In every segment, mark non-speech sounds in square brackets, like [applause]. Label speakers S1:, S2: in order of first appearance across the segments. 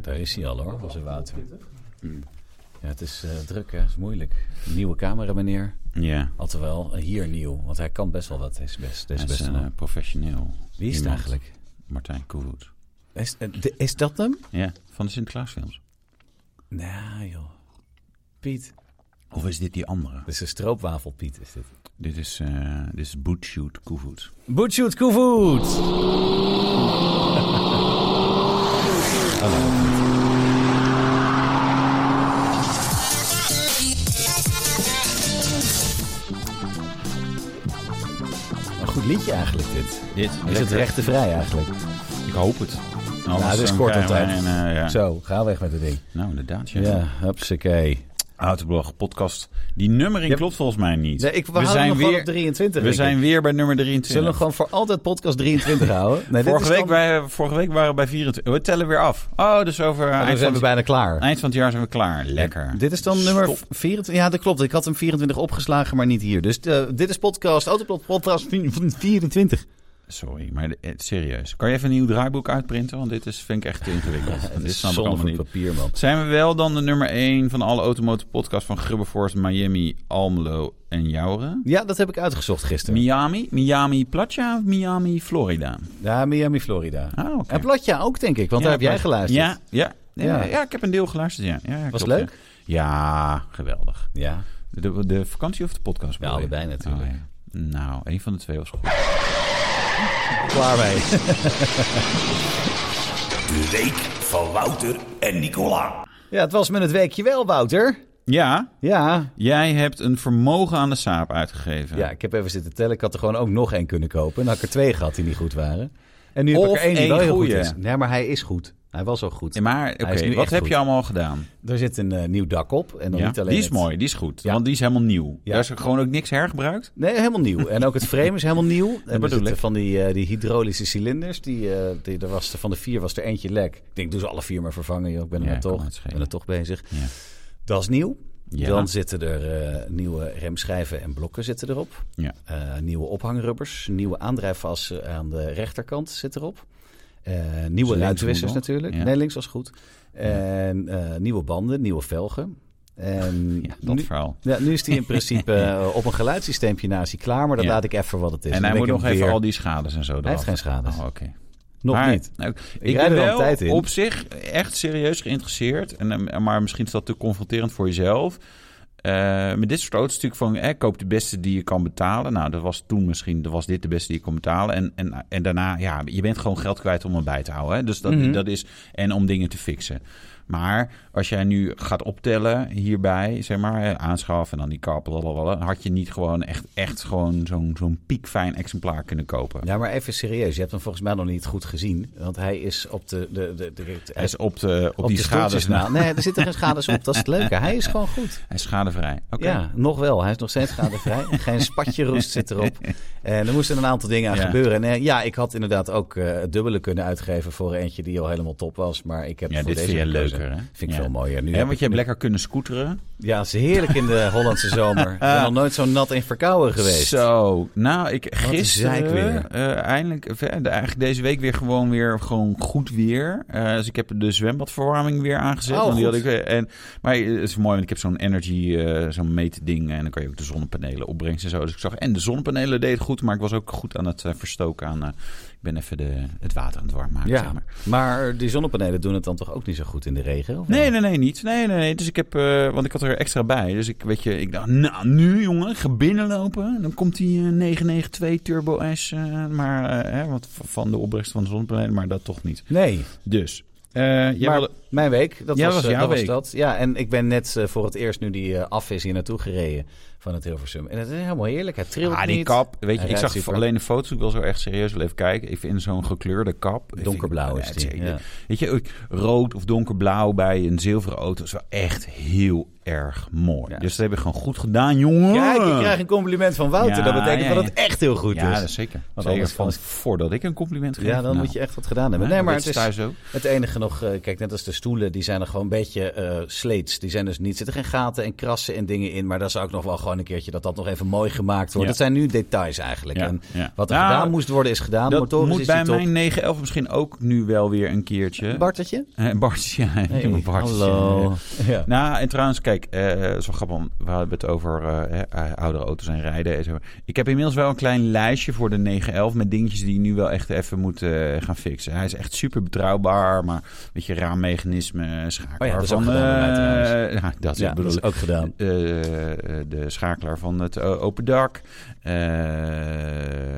S1: Daar is hij al hoor, onze Wouter. Hmm. Ja, het is eh, druk hè, het is moeilijk. Nieuwe camera meneer.
S2: Ja,
S1: Alhoewel, eh, hier nieuw, want hij kan best wel wat, deze best. Deze
S2: hij is
S1: beste
S2: een
S1: man.
S2: eh, professioneel.
S1: Wie is het
S2: iemand.
S1: eigenlijk?
S2: Martijn Koehoed.
S1: Is, eh, de- is dat hem?
S2: Ja, van de Sinterklaasfilms.
S1: Nou joh. Piet.
S2: Of is dit die andere?
S1: Dit is een stroopwafelpiet is dit.
S2: Dit is, eh dit is Bootshoot Koehoed.
S1: Boetshoot Koevoet! Een goed liedje eigenlijk dit.
S2: Dit
S1: Is het rechtenvrij eigenlijk?
S2: Ik hoop het. Nou,
S1: dit is kort op tijd.
S2: eh, ja.
S1: Zo, ga weg met het ding.
S2: Nou, inderdaad. Ja.
S1: Ja, hupsakee.
S2: Autoblog, podcast. Die nummering
S1: Ja.
S2: klopt volgens mij niet.
S1: Nee, ik, we,
S2: we
S1: houden
S2: zijn
S1: nog wel
S2: weer,
S1: op 23.
S2: we
S1: denk
S2: zijn
S1: ik.
S2: weer bij nummer
S1: Zullen
S2: 23.
S1: we gewoon voor altijd podcast
S2: [laughs]
S1: 23 houden? Nee, dit
S2: vorige,
S1: is
S2: week
S1: dan-
S2: wij, vorige week waren we bij 24. We tellen weer af. Oh, dus over eh,
S1: Ah, dan
S2: eind,
S1: zijn
S2: van,
S1: we bijna klaar.
S2: eind van het jaar zijn we klaar. Lekker.
S1: Dit is dan nummer
S2: Stop.
S1: 24. Ja, dat klopt. Ik had hem 24 opgeslagen, maar niet hier. Dus eh, dit is podcast, Autoplot podcast 24.
S2: Sorry, maar de- eh, serieus. Kan je even een nieuw draaiboek uitprinten? Want dit is, vind ik echt te ingewikkeld. dit snap ik
S1: zonde
S2: allemaal
S1: van
S2: niet.
S1: papier, man.
S2: Zijn we wel dan de nummer 1 van alle automotive podcasts van Grubberforce, Miami, Almelo en Jouren?
S1: Ja, dat heb ik uitgezocht gisteren.
S2: Miami? Miami Platja of Miami Florida?
S1: ja, Miami, Florida.
S2: Ah, oké.
S1: En Platja ook, denk ik, want
S2: Ja,
S1: daar heb jij
S2: Plat-
S1: geluisterd.
S2: Ja, ja, ja.
S1: Ja.
S2: ja, ik heb een deel geluisterd. Ja. Ja,
S1: Was
S2: klopt,
S1: het leuk?
S2: Ja. Ja, geweldig.
S1: Ja,
S2: De, de vakantie of de podcast?
S1: Ja,
S2: bedoel je?
S1: allebei natuurlijk.
S2: Oh, ja. Nou, één van de twee was goed.
S1: klaar [laughs] mee.
S3: De week van Wouter en Nicola.
S1: Ja, het was met het weekje wel, Wouter.
S2: Ja,
S1: Ja.
S2: jij hebt een vermogen aan de saap uitgegeven.
S1: ja, ik heb even zitten tellen. Ik had er gewoon ook nog één kunnen kopen. En dan had ik er twee gehad die niet goed waren. En nu heb
S2: Of
S1: ik er één die
S2: één
S1: wel heel goed
S2: goeie.
S1: is. Nee, maar hij is goed. Hij was al goed.
S2: Ja, Maar
S1: is
S2: oké,
S1: nu
S2: wat
S1: echt
S2: heb
S1: goed.
S2: je allemaal gedaan?
S1: Er zit een eh, nieuw dak op. En dan
S2: Ja,
S1: niet alleen
S2: die is
S1: het-
S2: mooi, die is goed.
S1: Ja.
S2: Want die is helemaal nieuw.
S1: Ja.
S2: Daar is er gewoon ook niks hergebruikt.
S1: Nee, helemaal nieuw. En ook het frame is helemaal nieuw. En er
S2: bedoel
S1: zitten
S2: ik.
S1: van die, eh, die hydraulische cilinders. Die, eh, die, er was, van de vier was er eentje lek. Ik denk, doe ze alle vier maar vervangen. Joh. Ik ben er
S2: Ja,
S1: maar
S2: kan
S1: toch,
S2: het
S1: ik
S2: schelen.
S1: ben er toch bezig.
S2: Ja.
S1: Dat is nieuw.
S2: Ja.
S1: Dan zitten er eh, nieuwe remschijven en blokken zitten erop.
S2: Ja.
S1: Eh, nieuwe ophangrubbers. Nieuwe aandrijfassen aan de rechterkant zit erop. Eh, nieuwe
S2: links
S1: ruitwissers
S2: goed nog?
S1: natuurlijk.
S2: Ja.
S1: Nee, links was goed. En eh, nieuwe banden, nieuwe velgen. En
S2: [laughs] Ja, dat
S1: nu-
S2: verhaal.
S1: ja, nu is die in
S2: [laughs]
S1: principe eh, op een geluidssysteempje naast hij klaar, maar dan
S2: Ja.
S1: laat ik even wat het is.
S2: en
S1: Dus Dan
S2: hij
S1: ben
S2: moet
S1: ik
S2: nog
S1: hem
S2: even
S1: weer-
S2: al die schades en zo
S1: Hij heeft geen schades.
S2: Oh, oké.
S1: Nog
S2: Maar,
S1: niet.
S2: nou, ik
S1: rijd
S2: ben
S1: er al
S2: wel
S1: tijd in.
S2: op zich echt serieus geïnteresseerd. En, eh, maar misschien is dat te confronterend voor jezelf. Eh, met dit soort auto's natuurlijk van... Eh, koop de beste die je kan betalen. Nou, dat was toen misschien... Dat was dit de beste die je kon betalen. En, en, en daarna, ja, je bent gewoon geld kwijt om hem bij te houden. Hè? Dus dat,
S1: Mhm.
S2: dat is... En om dingen te fixen. Maar als jij nu gaat optellen hierbij, zeg maar, eh, aanschaf en dan die kap, lalalala, had je niet gewoon echt, echt gewoon zo'n zo'n piekfijn exemplaar kunnen kopen.
S1: Ja, maar even serieus. Je hebt hem volgens mij nog niet goed gezien. Want hij is op de... de, de, de, de-
S2: Hij is op, de, op,
S1: op
S2: die
S1: de
S2: schades
S1: stoeltjes
S2: na.
S1: na. Nee, er zitten geen schades op. Dat is het leuke. Hij is gewoon goed.
S2: Hij is schadevrij. Oké.
S1: Ja, nog wel. Hij is nog steeds schadevrij. geen spatje roest zit
S2: [laughs]
S1: erop. En er moesten een aantal dingen aan
S2: Ja.
S1: gebeuren. En eh, ja, ik had inderdaad ook eh, het dubbele kunnen uitgeven voor eentje die al helemaal top was. Maar ik heb
S2: Ja,
S1: voor
S2: dit
S1: deze
S2: vind je
S1: gekozen.
S2: leuker, hè?
S1: Vind ik
S2: Ja.
S1: veel mooier. Nu
S2: Ja,
S1: heb
S2: want
S1: ik
S2: je hebt
S1: nu-
S2: lekker kunnen scooteren.
S1: Ja, het is heerlijk in
S2: [laughs]
S1: de Hollandse zomer. Ik ben nog nooit zo nat en verkouden geweest.
S2: Zo, nou, ik
S1: zeik
S2: gisteren
S1: weer.
S2: eh, eindelijk, of, eh, de- eigenlijk deze week weer gewoon weer gewoon goed weer. Eh, dus ik heb de zwembadverwarming weer aangezet.
S1: Oh,
S2: want die
S1: goed.
S2: had ik, eh, en, maar het is mooi, want ik heb zo'n energy, eh zo'n meetding en dan kan je ook de zonnepanelen opbrengen en zo. Dus ik zag, en de zonnepanelen deden het goed, maar ik was ook goed aan het eh, verstoken aan, eh, ik ben even de, het water aan het warm maken, zeg
S1: Ja,
S2: maar.
S1: maar die zonnepanelen doen het dan toch ook niet zo goed in de regen? Of
S2: Nee, nee, nee, niet. Nee, nee, nee. Dus ik heb, eh, want ik had er extra bij. Dus ik, weet je, ik dacht, nou, nu jongen, ik ga binnenlopen. Dan komt die eh, 992 Turbo S, eh, maar, eh, hè, want v- van de opbrengst van de zonnepanelen, maar dat toch niet.
S1: Nee,
S2: Dus, eh, jij
S1: maar
S2: wilde-
S1: mijn week, dat
S2: Ja,
S1: was,
S2: was
S1: eh,
S2: jouw
S1: dat
S2: week.
S1: was dat. Ja, en ik ben net eh, voor het eerst nu die eh, af is hier naartoe gereden van het Hilversum. En het is helemaal heerlijk, hij trilt
S2: ah, die
S1: niet.
S2: kap. Weet je,
S1: Hij
S2: ik
S1: rijdt
S2: zag
S1: super.
S2: alleen de foto's. Ik wil zo echt serieus wel even kijken. Ik vind zo'n gekleurde kap.
S1: Donkerblauw
S2: Ik-
S1: is die,
S2: ik-
S1: ja.
S2: Weet je, ook rood of donkerblauw bij een zilveren auto is wel echt heel erg mooi.
S1: Ja.
S2: Dus dat heb ik gewoon goed gedaan, jongen.
S1: Kijk, ik krijg een compliment van Wouter.
S2: Ah. Ja,
S1: dat betekent
S2: ja,
S1: dat
S2: ja.
S1: het echt heel goed
S2: Ja,
S1: is.
S2: dat is zeker.
S1: Want
S2: zeker
S1: anders
S2: van,
S1: kan
S2: voordat ik een compliment geef.
S1: ja, dan
S2: Nou.
S1: moet je echt wat gedaan hebben.
S2: Nee,
S1: Nee, maar
S2: dat
S1: het
S2: is
S1: is
S2: thuis ook.
S1: het enige nog... eh, kijk, net als de stoelen, die zijn er gewoon een beetje eh sleets. Die zijn dus niet, zitten geen gaten en krassen en dingen in. Maar daar zou ik nog wel gewoon een keertje dat dat nog even mooi gemaakt wordt.
S2: Ja.
S1: Dat zijn nu details eigenlijk.
S2: Ja,
S1: En
S2: ja.
S1: wat er
S2: Nou,
S1: gedaan moest worden is gedaan.
S2: Dat
S1: Motorisch
S2: moet
S1: is die
S2: bij
S1: top.
S2: mijn 911 misschien ook nu wel weer een keertje. [laughs]
S1: Bartertje?
S2: Eh, Bart, ja. ik noem hem Bart.
S1: hallo. Ja.
S2: Nou, en trouwens, kijk, eh zo grappig, want we hadden het over eh, eh, oudere auto's en rijden. En zo. Ik heb inmiddels wel een klein lijstje voor de 911 met dingetjes die je nu wel echt even moet eh, gaan fixen. Hij is echt super betrouwbaar, maar weet je, raammechanisme, schakelaar
S1: Oh ja, dat is
S2: van...
S1: ook gedaan bij mij
S2: eh,
S1: trouwens.
S2: ja, dus dat is
S1: Ja,
S2: ik
S1: dat
S2: bedoel,
S1: is ook gedaan.
S2: eh, eh, de schakelaar van het eh, open dak. eh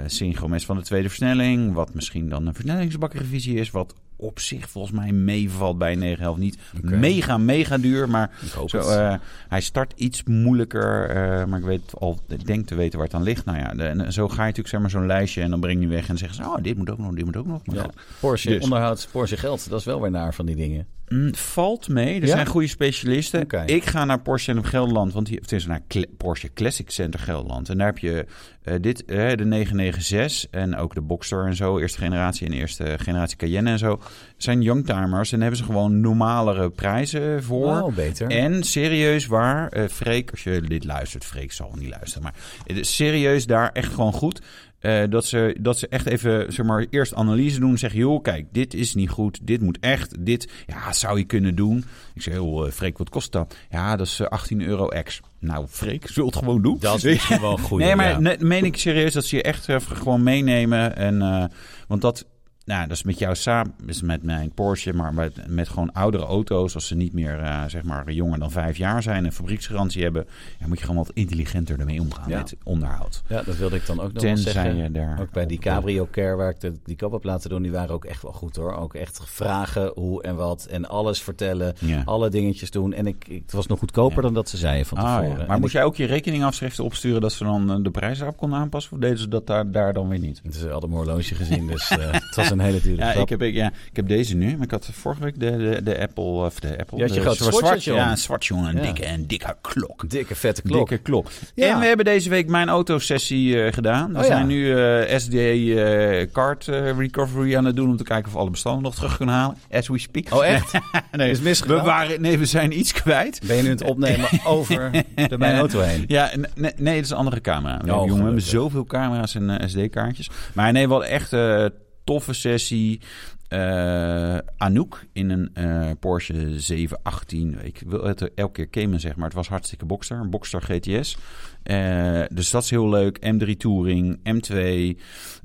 S2: synchromes van de tweede versnelling. Wat misschien dan een versnellingsbakrevisie is. Wat op zich volgens mij meevalt bij 911 niet.
S1: Oké.
S2: Mega, mega duur. Maar
S1: Ik hoop
S2: zo,
S1: het.
S2: eh, hij start iets moeilijker. eh, maar ik weet al, ik denk te weten waar het aan ligt. Nou ja, de- en zo ga je natuurlijk zeg maar, zo'n lijstje en dan breng je weg. En zeggen ze, oh, dit moet ook nog, dit moet ook nog. Maar
S1: ja.
S2: goed.
S1: Porsche
S2: Dus.
S1: onderhoud, Porsche geld. Dat is wel weer naar van die dingen.
S2: Mm, valt mee. Er
S1: Ja?
S2: zijn goede specialisten.
S1: Oké.
S2: Ik ga naar Porsche Centrum Gelderland. Want hier, of tenminste naar Cla- Porsche Classic Center Gelderland. En daar heb je eh, dit, eh, de 996 en ook de Boxster en zo. Eerste generatie en eerste generatie Cayenne en zo. Zijn youngtimers. En daar hebben ze gewoon normalere prijzen voor.
S1: Wauw, beter.
S2: En serieus waar, eh Freek, als je dit luistert, Freek zal niet luisteren, maar het is serieus daar echt gewoon goed. eh, dat, ze, dat ze echt even, zeg maar, eerst analyse doen. Zeggen, joh, kijk, dit is niet goed. Dit moet echt. Dit, ja, zou je kunnen doen. Ik zeg, joh, eh, Freek, wat kost dat? Ja, dat is eh, 18 euro ex. Nou, Freek, zult het gewoon doen. [laughs]
S1: Dat is gewoon goed.
S2: Nee, maar
S1: ja.
S2: ne- meen ik serieus dat ze je echt even gewoon meenemen. En, eh, want dat, nou, dat is met jou samen, is met mijn Porsche, maar met, met gewoon oudere auto's, als ze niet meer eh, zeg maar jonger dan vijf jaar zijn en fabrieksgarantie hebben, dan moet je gewoon wat intelligenter ermee omgaan
S1: Ja.
S2: met onderhoud.
S1: Ja, dat wilde ik dan ook nog wel
S2: Tenzij
S1: zeggen.
S2: je daar.
S1: Ook bij die Cabrio Care, waar ik de, die kop heb laten doen, die waren ook echt wel goed hoor. Ook echt vragen hoe en wat en alles vertellen,
S2: Ja.
S1: alle dingetjes doen. En ik, ik- het was nog goedkoper
S2: Ja.
S1: dan dat ze zeiden van
S2: Ah,
S1: tevoren.
S2: ja. Maar
S1: En
S2: moest jij ook je rekeningafschriften opsturen dat ze dan eh, de prijs daarop konden aanpassen? Of deden ze dat daar, daar dan weer niet? Dus
S1: ik, ze hadden mijn horloge gezien, dus
S2: [laughs]
S1: eh, het was een hele dure
S2: Ja
S1: grap.
S2: ik, heb, ja, ik heb deze nu. Maar ik had vorige week de, de, de Apple... Of de Apple
S1: Je had je
S2: de
S1: grote
S2: zwart-
S1: swatch,
S2: zwart-
S1: jongen.
S2: Ja, een zwart jongen. Een
S1: Ja.
S2: dikke en dikke klok.
S1: Een dikke vette klok.
S2: Dikke klok.
S1: Ja.
S2: En we hebben deze week mijn autosessie eh, gedaan. We
S1: Oh, ja.
S2: zijn nu eh, SDA eh card eh, recovery aan het doen om te kijken of we alle bestanden nog terug kunnen halen. As we
S1: [laughs]
S2: speak.
S1: Oh echt?
S2: nee,
S1: Is
S2: we
S1: misgegaan?
S2: waren, nee, we zijn iets kwijt.
S1: Ben je nu aan het
S2: [laughs]
S1: opnemen over door mijn auto heen?
S2: Ja, n- nee, nee, dat is een andere camera. We, jongen, we hebben
S1: gelukkig.
S2: zoveel camera's en eh, SD-kaartjes. Maar nee, wel echt eh toffe sessie. Eh, Anouk in een eh, Porsche 718. Ik wil het elke keer Cayman zeg maar het was hartstikke Boxster. Een Boxster GTS. Eh, dus dat is heel leuk. M3 Touring, M2,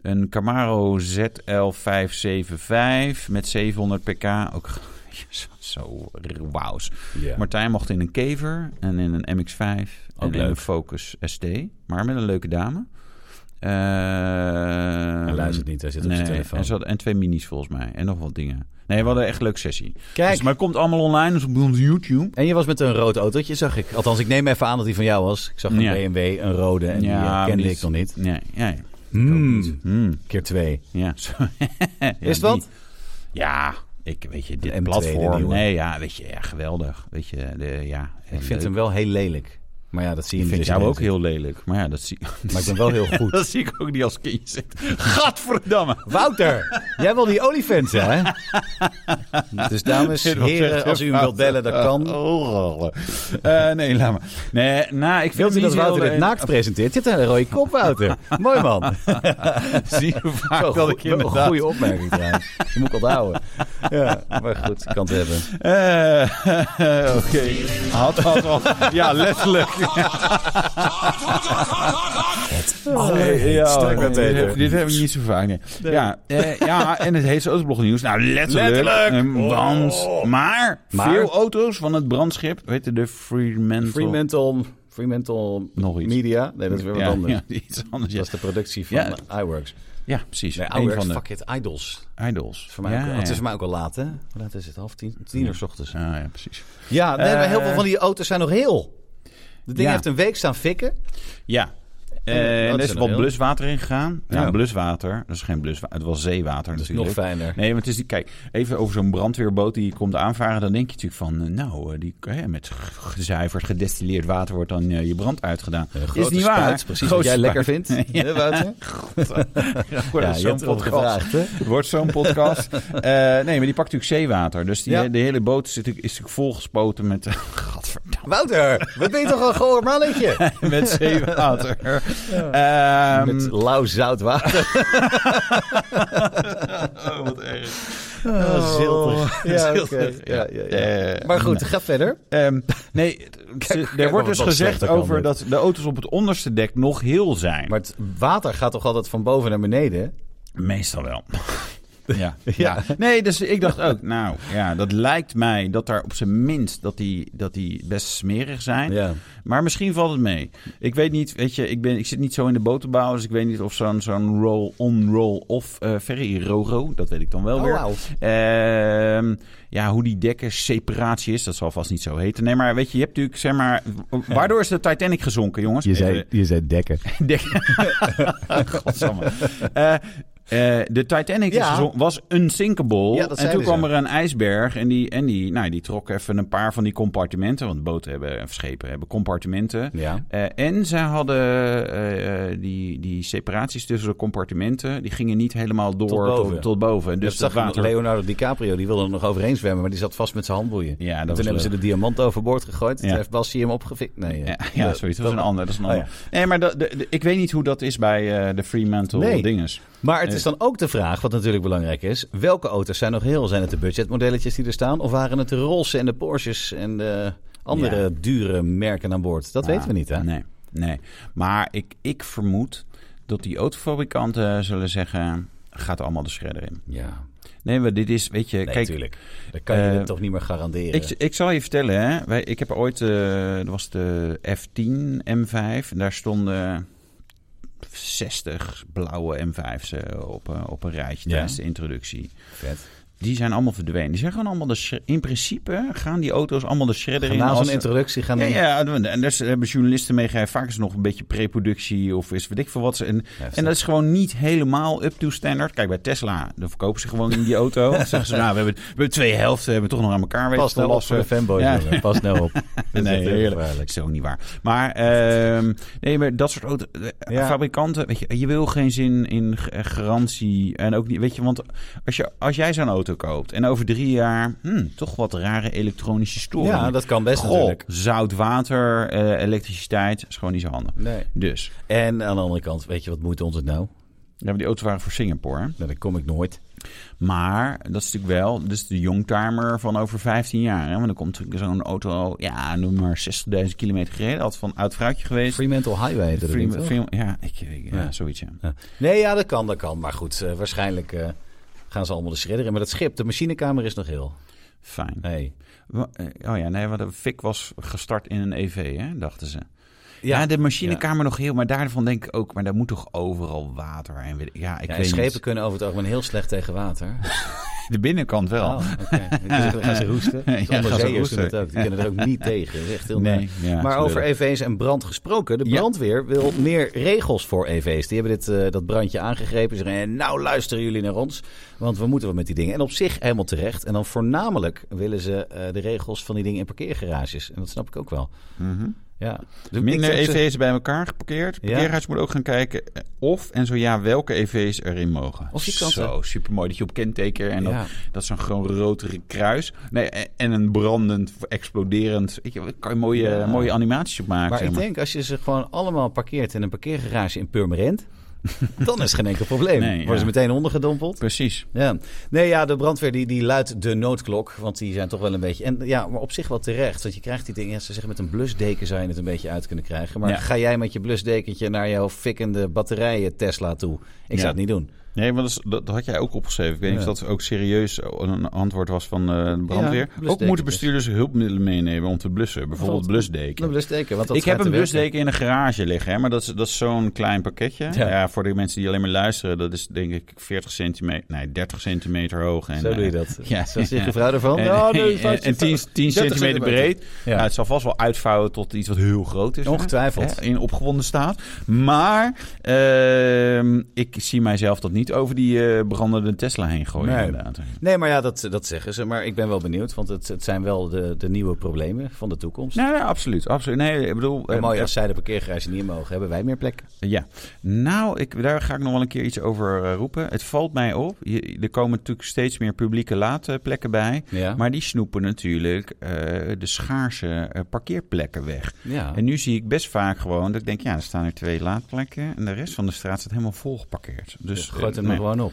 S2: een Camaro ZL575 met 700 pk. Ook [laughs] zo, zo wauws.
S1: Ja.
S2: Martijn mocht in een kever en in een MX-5 en
S1: Ook
S2: in een
S1: leuk.
S2: Focus ST, maar met een leuke dame. Eh,
S1: Hij luistert niet, hij zit op
S2: nee,
S1: zijn telefoon.
S2: En, ze hadden- en twee minis volgens mij en nog wat dingen. Nee, we hadden echt een leuke sessie.
S1: Kijk.
S2: Dus- maar het komt allemaal online, dus op ons YouTube.
S1: En je was met een rood autootje, zag ik. Althans, ik neem even aan dat die van jou was. Ik zag een
S2: Ja.
S1: BMW, een rode en die eh,
S2: maar
S1: kende
S2: die
S1: ik
S2: is-
S1: nog niet.
S2: Nee, ja, ja.
S1: Mm,
S2: Hmm,
S1: keer twee.
S2: ja. [laughs] Ja,
S1: Is het wat?
S2: die- Ja, ik weet je, dit
S1: M2, de
S2: platform.
S1: nieuwe.
S2: Nee, ja, weet je, ja, geweldig. Weet je, de, ja.
S1: Ik vind hem wel heel lelijk. Maar ja, dat zie je
S2: Ik
S1: niet.
S2: vind
S1: als je
S2: jou ook
S1: erin
S2: heel lelijk, maar ja, dat zie [laughs]
S1: zit. Maar ik ben wel heel goed. [laughs]
S2: Dat zie ik ook niet als kindje zitten. Gadverdamme.
S1: Wouter, jij wil die olifant, hè? Dus [laughs] dames,
S2: Dit was
S1: heren,
S2: echt
S1: als u hem wilt bellen, dat kan.
S2: Ah, Oh, Eh, nee, laat maar. Nee, nou, ik vind
S1: Wilt u
S2: het
S1: dat
S2: niet
S1: Wouter
S2: heel-
S1: dit naakt presenteert? Zit er een rode kop, [laughs] Wouter. Mooi man.
S2: [laughs] Zie je vaak
S1: Wel
S2: dat
S1: goe-
S2: ik
S1: wel een
S2: inderdaad...
S1: goede opmerking trouwens. Die moet ik onthouden. Ja, maar goed, ik kan het hebben.
S2: Eh, [laughs] Oké. Had, had, had. Ja,
S1: [laughs]
S2: letterlijk.
S1: Oh,
S2: Ja, oh,
S1: Sterk met
S2: dit, heb,
S1: eten.
S2: dit heb ik niet zo vaak. nee. Ja, eh, ja, en het heet Autoblog Nieuws. Nou, letterlijk.
S1: Letterlijk. Oh.
S2: Eh, want, maar,
S1: Maar-
S2: veel auto's van het brandschip, weet je, de Fremantle.
S1: Fremantle, Fremantle
S2: Nog iets.
S1: Media. Nee, dat is weer wat
S2: ja,
S1: anders.
S2: [laughs] ja, iets anders. Ja,
S1: Dat is de productie van
S2: Ja.
S1: iWorks.
S2: ja precies.
S1: Nee,
S2: Een
S1: iWorks,
S2: van de
S1: fuck it, Idols.
S2: idols.
S1: Voor mij
S2: ja,
S1: ook,
S2: ja.
S1: want Het is voor mij ook al laat, hè? Hoe laat is het? Half tien? Tien uur s ochtends.
S2: Ah, ja, precies.
S1: Ja, nee, maar heel
S2: Eh,
S1: veel van die auto's zijn nog heel. De ding
S2: ja.
S1: heeft een week staan fikken.
S2: Ja.
S1: dat
S2: Eh, en er
S1: is
S2: is
S1: een
S2: wat
S1: heel-
S2: bluswater in gegaan. Ja,
S1: Ja.
S2: bluswater. Dat is geen bluswater. Het was zeewater
S1: Dat is
S2: natuurlijk.
S1: nog fijner.
S2: Nee, maar het is die, kijk, even over zo'n brandweerboot die komt aanvaren, dan denk je natuurlijk van, eh, nou, eh, die, eh, met g- gezuiverd, gedestilleerd water wordt dan eh, je brand uitgedaan.
S1: Een
S2: is
S1: grote
S2: niet waar.
S1: spuit, precies wat jij lekker vindt.
S2: [laughs]
S1: Hè, Wouter?
S2: Wordt
S1: Ja,
S2: het
S1: je
S2: zo'n
S1: hebt erom
S2: podcast.
S1: gevraagd, hè?
S2: Het wordt zo'n
S1: [laughs]
S2: podcast. Eh, nee, maar die pakt natuurlijk zeewater. Dus die,
S1: Ja.
S2: de hele boot is natuurlijk, is natuurlijk volgespoten met, [laughs] gadverdamme,
S1: Wouter, wat ben je toch een goor mannetje?
S2: met zeewater. [laughs] Ehm,
S1: Met lauw zout water.
S2: oh, wat erg.
S1: Oh, ziltig.
S2: [laughs]
S1: Ja, oké.
S2: Ziltig,
S1: Ja, ja, ja.
S2: Eh,
S1: Maar goed, ga verder.
S2: Ehm, nee, het-
S1: kijk maar
S2: er
S1: wat
S2: wordt dus
S1: dat
S2: gezegd
S1: slechter kan
S2: over
S1: worden.
S2: dat de auto's op het onderste dek nog heel zijn.
S1: Maar het water gaat toch altijd van boven naar beneden?
S2: meestal
S1: [laughs]
S2: wel. ja. ja. Nee, dus ik dacht ook, nou ja, dat lijkt mij dat daar op zijn minst dat die, dat die best smerig zijn.
S1: Ja.
S2: Maar misschien valt het mee. Ik weet niet, weet je, ik, ben, ik zit niet zo in de boterbouw, dus ik weet niet of zo'n zo'n roll-on, roll-off eh ferry roro, dat weet ik dan wel
S1: Oh,
S2: weer.
S1: wauw.
S2: Ehm, ja, hoe die dekkersseparatie is, dat zal vast niet zo heten. Nee, maar weet je, je hebt natuurlijk, zeg maar, waardoor is de Titanic gezonken, jongens? Even-
S1: je zei dekken.
S2: Dek- [laughs] Godsamme. Eh, eh, de Titanic is
S1: Ja.
S2: gezonken- was unsinkable.
S1: Ja, dat
S2: en toen
S1: zeiden
S2: kwam
S1: ze.
S2: er een ijsberg en, die, en die, nou, die trok even een paar van die compartimenten. Want boten hebben, of schepen hebben compartimenten.
S1: Ja.
S2: Eh, en zij hadden eh, eh, die, die separaties tussen de compartimenten. Die gingen niet helemaal door tot boven.
S1: boven.
S2: Tot, boven. Dus
S1: Dus
S2: dat
S1: zag
S2: water...
S1: Leonardo DiCaprio, die wilde er nog overheen zwemmen, maar die zat vast met zijn handboeien.
S2: Ja, dat
S1: En
S2: was
S1: toen hebben ze
S2: leuk.
S1: de diamant overboord gegooid.
S2: Ja.
S1: Toen heeft Bassi hem opgefikt. Nee,
S2: ja,
S1: eh,
S2: ja,
S1: dat-
S2: zoiets. Dat is een ander. Dat is een
S1: Oh,
S2: ander. Nee, maar dat- de- de- ik weet niet hoe dat is bij eh, de Fremantle
S1: Nee.
S2: dinges.
S1: Maar het is dan ook de vraag, wat natuurlijk belangrijk is: welke auto's zijn nog heel? Zijn het de budgetmodelletjes die er staan? Of waren het de Rolls en de Porsches en de andere
S2: Ja. Ah.
S1: dure merken aan boord? Dat
S2: Ja,
S1: weten we niet, hè?
S2: Nee, nee. Maar ik, ik vermoed dat die autofabrikanten zullen zeggen... gaat allemaal de shredder in.
S1: Ja,
S2: Nee, maar dit is, weet je...
S1: nee,
S2: kijk,
S1: natuurlijk. Dat kan je
S2: eh,
S1: het toch niet meer garanderen.
S2: ik, ik zal je vertellen, hè. Wij, ik heb ooit, eh dat was de F10 M5. En daar stonden 60 blauwe M5's eh, op, een- op een rijtje
S1: Ja.
S2: tijdens de introductie.
S1: Vet.
S2: Die zijn allemaal verdwenen. Die zijn gewoon allemaal de... shre- In principe gaan die auto's allemaal de shredder in.
S1: Na
S2: als-
S1: nou zo'n introductie gaan
S2: Ja,
S1: die-
S2: ja, en daar hebben journalisten mee gegeven. Vaak is het nog een beetje preproductie of is weet ik veel wat. ze- En, en dat is gewoon niet helemaal up to standard. Kijk, bij Tesla, dan verkopen ze gewoon die auto. Dan zeggen ze, nou, we hebben, we hebben twee helften, hebben we toch nog aan elkaar weten
S1: Pas
S2: te
S1: nou op voor de
S2: lassen.
S1: fanboys,
S2: Ja.
S1: jongen. Pas nou
S2: [laughs]
S1: op. Dat
S2: Nee,
S1: is echt heel
S2: heerlijk.
S1: gevaarlijk.
S2: Zo niet waar. Maar, ehm, nee, maar dat soort auto, eh,
S1: Ja.
S2: fabrikanten, weet je, je wil geen zin in g- eh, garantie. En ook niet, weet je, want als, je, als jij zo'n auto koopt en over drie jaar, hm, toch wat rare elektronische storingen.
S1: Ja, dat kan best
S2: Goh,
S1: natuurlijk.
S2: zout water, eh, elektriciteit, is gewoon niet zo handig.
S1: Nee.
S2: Dus,
S1: En aan de andere kant, weet je wat moet ons het nou?
S2: ja, maar die auto's waren voor Singapore. hè.
S1: Nou, daar kom ik nooit.
S2: Maar dat is natuurlijk wel, dus de youngtimer van over 15 jaar. Hè? Want dan komt natuurlijk zo'n auto, ja, noem maar 60.000 kilometer gereden. Had van oud fruitje geweest.
S1: Fremantle Highway heette dat ding,
S2: Free-
S1: toch?
S2: Free- ja, ik, ik- ja,
S1: Ja.
S2: zoiets, ja.
S1: Ja. Nee, ja, dat kan, dat kan. Maar goed, eh, waarschijnlijk eh, gaan ze allemaal de shredder in. Maar dat schip, de machinekamer is nog heel.
S2: Fijn.
S1: Nee.
S2: Wa- eh, Oh ja, nee, want de Fik was gestart in een EV, hè, dachten ze. Ja,
S1: Ja,
S2: de machinekamer nog heel, maar daarvan denk ik ook, maar daar moet toch overal water en weet ik- Ja, ik
S1: Ja, en
S2: weet
S1: schepen
S2: niet.
S1: kunnen over het algemeen heel slecht tegen water.
S2: De binnenkant wel.
S1: Oh, oké.
S2: [laughs]
S1: Dan gaan ze roesten.
S2: Ja,
S1: Dus
S2: gaan ze
S1: onderzeeërs doen
S2: roesten.
S1: het ook. Die kunnen er ook niet tegen. Dat is echt heel
S2: Nee,
S1: naar.
S2: ja,
S1: maar
S2: het is
S1: over EV's en brand gesproken. De
S2: Ja.
S1: brandweer wil meer regels voor EV's. Die hebben dit, eh, dat brandje aangegrepen. Ze zeggen, eh, nou luisteren jullie naar ons. Want we moeten wat met die dingen. En op zich helemaal terecht. En dan voornamelijk willen ze eh, de regels van die dingen in parkeergarages. En dat snap ik ook wel. Ja. Dus
S2: Mhm. Minder E
S1: ik-
S2: EV's bij elkaar geparkeerd. Het
S1: Ja.
S2: Parkeerhuis moet ook gaan kijken eh, of en zo ja, welke EV's erin mogen.
S1: Of je kan ze-
S2: zo, supermooi dat je op kenteken en
S1: Ja.
S2: dat, dat zo'n gewoon rood kruis. Nee, en- en een brandend, exploderend. Weet je, daar kan je mooie,
S1: Ja.
S2: mooie animaties op maken.
S1: Maar
S2: zeg
S1: ik
S2: maar.
S1: denk, als je ze gewoon allemaal parkeert in een parkeergarage in
S2: [laughs]
S1: Purmerend... dan is het geen enkel probleem.
S2: Nee,
S1: Worden
S2: ja.
S1: ze meteen ondergedompeld.
S2: Precies.
S1: Ja. Nee, ja, de brandweer die, die luidt de noodklok. Want die zijn toch wel een beetje... En ja, maar op zich wel terecht. Want je krijgt die dingen... Ja, ze zeggen met een blusdeken zou je het een beetje uit kunnen krijgen. Maar
S2: Ja.
S1: ga jij met je blusdekentje naar jouw fikkende batterijen Tesla toe? Ik
S2: Ja.
S1: zou het niet doen.
S2: Nee, want dat, is- dat, dat had jij ook opgeschreven. Ik weet niet
S1: Ja.
S2: of dat ook serieus een antwoord was van eh, de brandweer. ook
S1: blusdekentjes.
S2: moeten bestuurders hulpmiddelen meenemen om te blussen. Bijvoorbeeld blusdeken.
S1: Een blusdeken. Want dat
S2: ik heb
S1: schijnt te
S2: een
S1: werken.
S2: blusdeken in een garage liggen, hè, maar dat is, dat is zo'n klein pakketje. Ja.
S1: Ja.
S2: voor de mensen die alleen maar luisteren, dat is denk ik 40 centimeter, nee, 30 centimeter hoog. En,
S1: Zo doe je
S2: eh,
S1: dat.
S2: [laughs] Ja.
S1: Ja. Zo zegt je vrouw ervan. Ja, nee,
S2: en, en, 10, 10 centimeter breed.
S1: Ja.
S2: Nou, het zal vast wel uitvouwen tot iets wat heel groot is. hè.
S1: Ongetwijfeld.
S2: Hè, in opgewonden staat. Maar ehm, ik zie mijzelf dat niet over die eh brandende Tesla heen gooien.
S1: Nee.
S2: Inderdaad.
S1: Nee, maar ja, dat, dat zeggen ze. Maar ik ben wel benieuwd, want het, het zijn wel de, de nieuwe problemen van de toekomst.
S2: Nou, Nee, nee, absoluut. absoluut. Nee, ik bedoel,
S1: En
S2: eh,
S1: mooi, als zij de parkeergarage niet mogen, hebben wij meer plekken.
S2: Ja, nou, ik, daar ga ik nog wel een keer iets over eh, roepen. Het valt mij op. Je, er komen natuurlijk steeds meer publieke laadplekken bij.
S1: Ja.
S2: Maar die snoepen natuurlijk eh, de schaarse eh, parkeerplekken weg.
S1: Ja.
S2: En nu zie ik best vaak gewoon dat ik denk, ja, er staan er twee laadplekken. En de rest van de straat staat helemaal vol geparkeerd. Dus
S1: Dus gooit
S2: eh,
S1: hem er
S2: nee.
S1: gewoon op.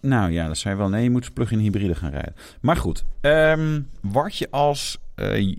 S2: Nou ja, dat zei wel. Nee, je moet plug-in hybride gaan rijden. Maar goed, ehm, wat je als eh,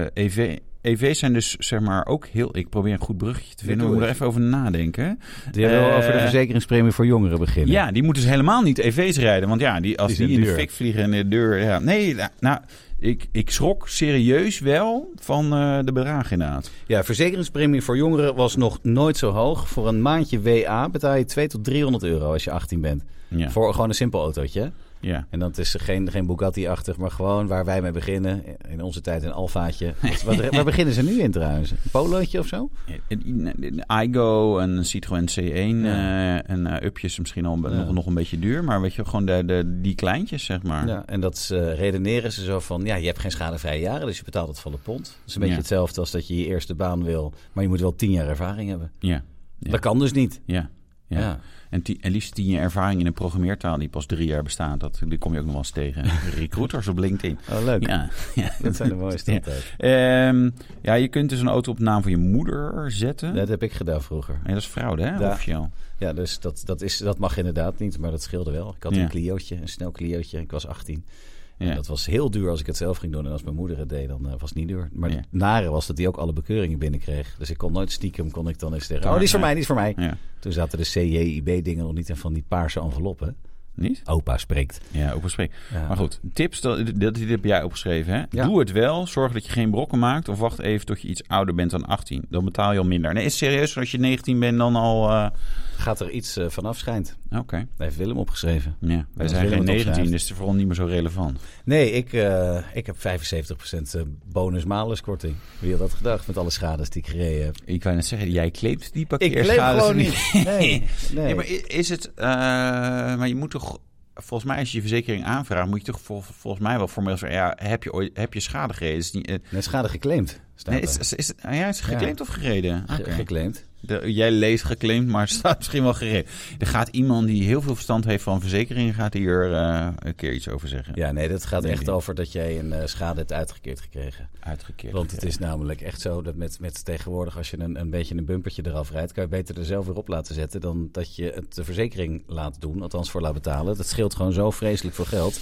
S2: eh, EV. EV's zijn dus zeg maar ook heel. Ik probeer een goed bruggetje te vinden.
S1: doe
S2: We moeten er
S1: het.
S2: even over nadenken.
S1: Die hebben wel
S2: Eh,
S1: over de verzekeringspremie voor jongeren beginnen.
S2: Ja, die moeten dus helemaal niet EV's rijden. Want ja, die, als
S1: Die
S2: die,
S1: zijn
S2: in de
S1: duur.
S2: fik vliegen en in de deur. Ja. Nee, nou, nou, ik, ik schrok serieus wel van eh, de bedragen inderdaad.
S1: Ja, verzekeringspremie voor jongeren was nog nooit zo hoog. Voor een maandje WA betaal je 200 tot 300 euro als je 18 bent.
S2: Ja.
S1: Voor gewoon een simpel autootje. hè?
S2: ja.
S1: En dat is geen, geen Bugatti-achtig, maar gewoon waar wij mee beginnen. In onze tijd een
S2: [laughs]
S1: Alfaatje. Wat, wat- waar beginnen ze nu in trouwens? Een polootje of zo?
S2: Een- Een Eh, iGo, een Citroën C1
S1: Ja.
S2: eh, en eh, upjes misschien al
S1: Ja.
S2: nog, nog een beetje duur. Maar weet je, gewoon de, de, die kleintjes, zeg maar.
S1: Ja, en dat ze, eh, redeneren ze zo van, ja, je hebt geen schadevrije jaren, dus je betaalt het volle pond. Dat is een beetje
S2: Ja.
S1: hetzelfde als dat je je eerste baan wil, maar je moet wel tien jaar ervaring hebben.
S2: Ja, Ja.
S1: Dat kan dus niet.
S2: ja. ja.
S1: Ja.
S2: En, ti- en liefst tien jaar ervaring in een programmeertaal die pas drie jaar bestaat. Dat, die kom je ook nog wel eens
S1: [laughs]
S2: tegen. Recruiters op LinkedIn.
S1: Oh, leuk.
S2: Ja, ja.
S1: Dat zijn de mooiste
S2: Ja.
S1: altijd.
S2: Ehm, ja, je kunt dus een auto op naam van je moeder zetten.
S1: Dat heb ik gedaan vroeger.
S2: Nee, dat is fraude, hè?
S1: Ja.
S2: Officieel.
S1: Ja, dus dat, dat, is, dat mag inderdaad niet, maar dat scheelde wel. Ik had
S2: Ja.
S1: een Clio'tje, een snel Clio'tje. Ik was 18. En
S2: Ja.
S1: dat was heel duur als ik het zelf ging doen. En als mijn moeder het deed, dan eh, was het niet duur. Maar
S2: Ja.
S1: het nare was dat die ook alle bekeuringen binnenkreeg. Dus ik kon nooit stiekem, kon ik dan eens zeggen...
S2: Daar,
S1: Oh, die is voor
S2: ja.
S1: mij, die is voor mij.
S2: ja.
S1: Toen zaten de CJIB-dingen nog niet en van die paarse enveloppen.
S2: Niet?
S1: Opa spreekt.
S2: Ja, opgesprek.
S1: Ja.
S2: Maar goed, tips, dat, dat, dit heb jij opgeschreven, hè?
S1: Ja.
S2: Doe het wel, zorg dat je geen brokken maakt... of wacht even tot je iets ouder bent dan 18. Dan betaal je al minder. Nee, is serieus, als je 19 bent dan al... eh,
S1: Gaat er iets eh, vanaf schijnt?
S2: Oké,
S1: Daar heeft Willem opgeschreven.
S2: ja. Wij
S1: Als
S2: zijn
S1: Willem
S2: geen
S1: het
S2: 19,
S1: opschrijft.
S2: dus het is vooral niet meer zo relevant.
S1: Nee, ik, eh, ik heb eh, 75% bonus-malus-korting. Wie had dat gedacht met alle schades die ik gereden heb?
S2: Ik wou net zeggen, jij kleept die
S1: Ik
S2: parkeerschades
S1: leef gewoon niet. Nee, nee.
S2: [laughs] Nee, maar i- is het... eh, maar je moet toch... Volgens mij, als je je verzekering aanvraagt, moet je toch vol- volgens mij wel formeel zeggen... Ja, heb je, ooit, heb je schade gereden? Is het niet, eh,
S1: Nee, schade geclaimd. Staat
S2: nee,
S1: er.
S2: is, is, is, ah ja, is het geclaimd of gereden?
S1: Ge-
S2: Oké.
S1: Geclaimd.
S2: De- jij leest geclaimd, maar het staat [laughs] misschien wel gereden. Er gaat iemand die heel veel verstand heeft van verzekeringen... gaat hier eh, een keer iets over zeggen.
S1: Ja, nee, dat gaat
S2: Nee,
S1: echt
S2: nee.
S1: over dat jij een eh, schade hebt uitgekeerd gekregen.
S2: Uitgekeerd.
S1: Want het is namelijk echt zo dat met, met tegenwoordig, als je een, een beetje een bumpertje eraf rijdt, kan je beter er zelf weer op laten zetten dan dat je het de verzekering laat doen, althans voor laat betalen. Dat scheelt gewoon zo vreselijk veel geld.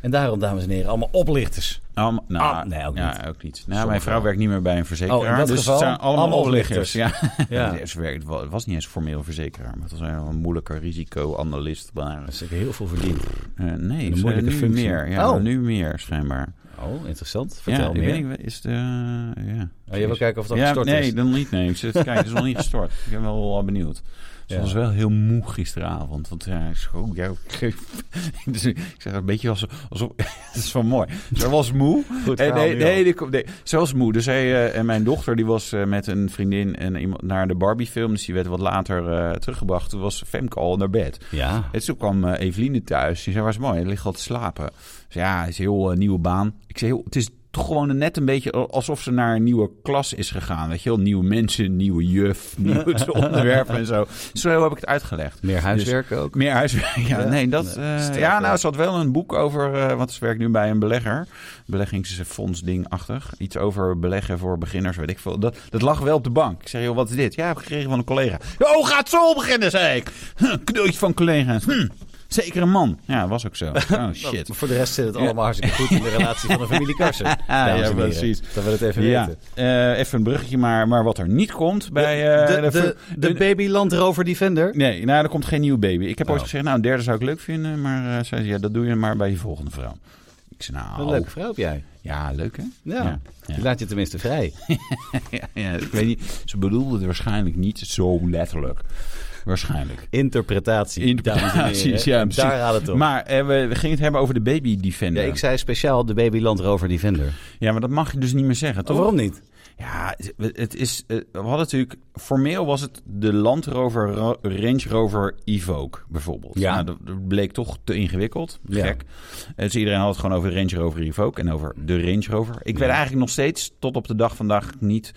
S1: En daarom, dames en heren, allemaal oplichters.
S2: Allem- nou,
S1: Ah, nee, ook
S2: ja,
S1: niet.
S2: ook niet. Nou, mijn vrouw
S1: wel.
S2: werkt niet meer bij een verzekeraar.
S1: Oh, in dat
S2: dus
S1: geval
S2: het zijn allemaal,
S1: allemaal
S2: oplichters. [laughs] Ja.
S1: Ja.
S2: Ze werkt wel- het was niet eens een formeel verzekeraar. Maar het was eigenlijk wel een moeilijke risico-analyst. Maar,
S1: Dat is zeker heel veel verdiend.
S2: eh, nee,
S1: Een
S2: ze-
S1: moeilijke
S2: nu
S1: functie.
S2: meer. Ja,
S1: Oh.
S2: Nu meer, schijnbaar.
S1: Oh, interessant. Vertel
S2: ja,
S1: meer.
S2: Ik weet niet, is de, ja.
S1: Oh, je wil kijken of dat
S2: ja,
S1: gestort
S2: nee,
S1: is.
S2: dan niet. Nee, ik zit te kijken. Het is nog niet
S1: [laughs]
S2: gestort. Ik ben wel eh, benieuwd. Ze
S1: Ja.
S2: was wel heel moe gisteravond. Want ja, ik zeg, oh, ja, [laughs] oké. dus ik zeg een beetje alsof... alsof [laughs] het is wel mooi. Ze was moe.
S1: Goed
S2: Eh,
S1: verhaal
S2: nee,
S1: nu al.
S2: nee, die kom- nee, ze was moe. Dus hij, eh, en mijn dochter die was eh, met een vriendin en iemand naar de Barbie film. Dus die werd wat later eh, teruggebracht. Toen was Femke al naar bed.
S1: Ja.
S2: En toen kwam eh, Eveline thuis. Die zei, waar is mooi? Hij ligt al te slapen. Dus ja, het is een heel eh, nieuwe baan. Ik zei, joh, het is toch gewoon een- net een beetje alsof ze naar een nieuwe klas is gegaan. Weet je wel, nieuwe mensen, nieuwe juf, [laughs] nieuwe onderwerpen en zo. Zo heb ik het uitgelegd.
S1: Meer huiswerk ook.
S2: Meer huiswerk, [laughs] ja.
S1: Ja,
S2: nee, dat,
S1: nee,
S2: eh,
S1: strafwerk.
S2: ja, nou, ze had wel een boek over... eh, want ze werkt nu bij een belegger. Beleggingsfonds-dingachtig. Iets over beleggen voor beginners, weet ik veel. Dat, dat lag wel op de bank. Ik zeg, joh, wat is dit? Ja, heb ik gekregen van een collega. Oh, gaat zo beginnen, zei ik. Hm, cadeautje van collega's. Hm. Zeker een man. Ja,
S1: [laughs]
S2: was ook zo. Oh, shit.
S1: Maar voor de rest zit het allemaal hartstikke goed in de relatie van de
S2: [laughs]
S1: familie Karsen. dames en heren.
S2: precies.
S1: Dat we het even
S2: Ja,
S1: weten.
S2: eh, even een bruggetje, maar, maar wat er niet komt bij... eh,
S1: de, de,
S2: ver-
S1: de baby Land Rover Defender.
S2: Nee, nou, er komt geen nieuwe baby. Ik heb ooit
S1: Oh.
S2: gezegd, nou, een derde zou ik leuk vinden. Maar eh, zei ze, ja, dat doe je maar bij je volgende vrouw. Ik zei,
S1: Wat
S2: nou,
S1: een leuke vrouw heb jij.
S2: ja, leuk hè?
S1: Ja.
S2: Ja, [laughs]
S1: Die laat je tenminste vrij.
S2: ja, ja, ik weet niet, ze bedoelde het waarschijnlijk niet zo letterlijk. Waarschijnlijk.
S1: Interpretatie. dames en heren.
S2: Interpretaties, [laughs] ja, precies.
S1: Daar gaat het om.
S2: Maar eh, we, we gingen het hebben over de baby
S1: Ja,
S2: defender. Ja,
S1: ik zei speciaal de baby Land Rover Defender.
S2: maar dat mag je dus niet meer zeggen, toch?
S1: Oh, waarom niet?
S2: Ja, het- het is, eh, we hadden natuurlijk... Formeel was het de Land Rover Ro- Range Rover Evoque, bijvoorbeeld.
S1: Ja.
S2: Nou, dat- dat bleek toch te ingewikkeld.
S1: Ja.
S2: Gek. Eh, Dus iedereen had het gewoon over de Range Rover Evoque en over de Range Rover. Ik weet eigenlijk nog steeds, tot op de dag vandaag, niet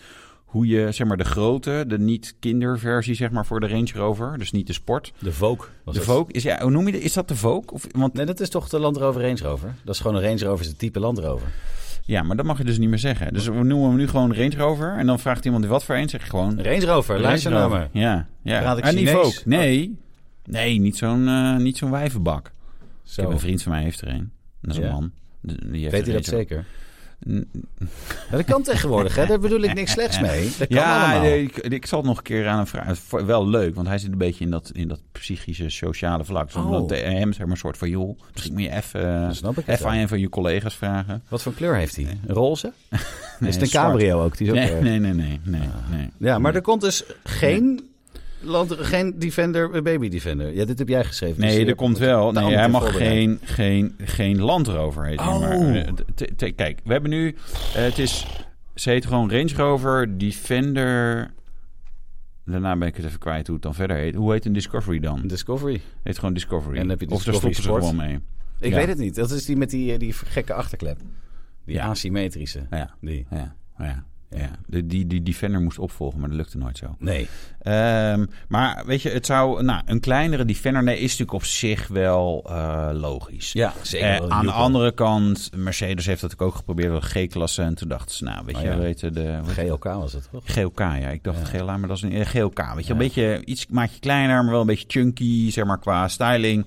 S2: hoe je zeg maar, de grote, de niet-kinderversie zeg maar, voor de Range Rover... dus niet de sport...
S1: De Vogue.
S2: de Vogue is ja, hoe noem je dat? Is dat de Vogue? Of, want
S1: Nee, dat is toch de Land Rover Range Rover? Dat is gewoon een Range Rover, is het type Land Rover.
S2: ja, maar dat mag je dus niet meer zeggen. Dus we noemen hem nu gewoon Range Rover en dan vraagt iemand wat voor een, zeg je gewoon
S1: Range Rover, luister nou naar me.
S2: Ja, ja.
S1: Praat ik
S2: en die
S1: Chinees? Oh.
S2: Vogue. Nee, nee, niet zo'n eh, niet zo'n wijvenbak. Ik heb
S1: Zo.
S2: een vriend van mij heeft er een. Dat is een
S1: Ja.
S2: man. De- die heeft
S1: Weet u
S2: er
S1: dat
S2: een-
S1: zeker?
S2: N-
S1: Maar dat kan tegenwoordig, hè? Daar bedoel ik niks slechts mee. Dat kan
S2: Ja,
S1: allemaal.
S2: nee, ik, ik zal het nog een keer aan hem vragen. Het is Wel leuk, want hij zit een beetje in dat, in dat psychische, sociale vlak. Dus
S1: Oh.
S2: omdat de hem zeg maar, een soort van, joh, misschien moet je even, eh,
S1: Dan snap ik het
S2: even aan
S1: wel.
S2: een van je collega's vragen.
S1: Wat voor kleur heeft hij? Een roze?
S2: Nee,
S1: is het een
S2: zwart.
S1: cabrio ook? Die is ook
S2: Nee,
S1: eh,
S2: nee, nee, nee, nee, nee.
S1: Ja, maar er komt dus geen, land, geen Defender, eh, Baby Defender. Ja, dit heb jij geschreven.
S2: Nee,
S1: Dus,
S2: er
S1: eh,
S2: komt wel.
S1: daarom
S2: Nee, hij
S1: ter
S2: mag
S1: voorbereiding.
S2: geen, geen, geen Land Rover heten.
S1: Oh.
S2: Maar, eh, t- t- kijk, we hebben nu... eh, het is... Ze heet gewoon Range Rover, Defender... Daarna ben ik het even kwijt hoe het dan verder heet. Hoe heet een Discovery dan?
S1: Discovery.
S2: Heet gewoon Discovery.
S1: En dan heb je
S2: of daar
S1: Discovery
S2: stoppen ze
S1: Sport.
S2: gewoon mee.
S1: Ik
S2: Ja.
S1: weet het niet. Dat is die met die, eh, die gekke achterklep. Die
S2: Ja.
S1: asymmetrische.
S2: Ja,
S1: Die.
S2: ja, ja. ja. De, die, die Defender moest opvolgen, maar dat lukte nooit zo.
S1: Nee.
S2: Ehm, maar weet je, het zou... Nou, een kleinere Defender nee, is natuurlijk op zich wel eh, logisch.
S1: Ja, zeker.
S2: Eh,
S1: wel een
S2: aan de
S1: joekel.
S2: andere kant, Mercedes heeft dat ook geprobeerd met de G-klasse. En toen dachten ze, nou, weet
S1: Oh,
S2: je,
S1: ja.
S2: we weten de... hoe heet-
S1: GLK was dat toch?
S2: GLK, ja. Ik dacht GLA, maar dat is een eh, GLK. Weet je, een beetje iets maak je kleiner, maar wel een beetje chunky, zeg maar, qua styling.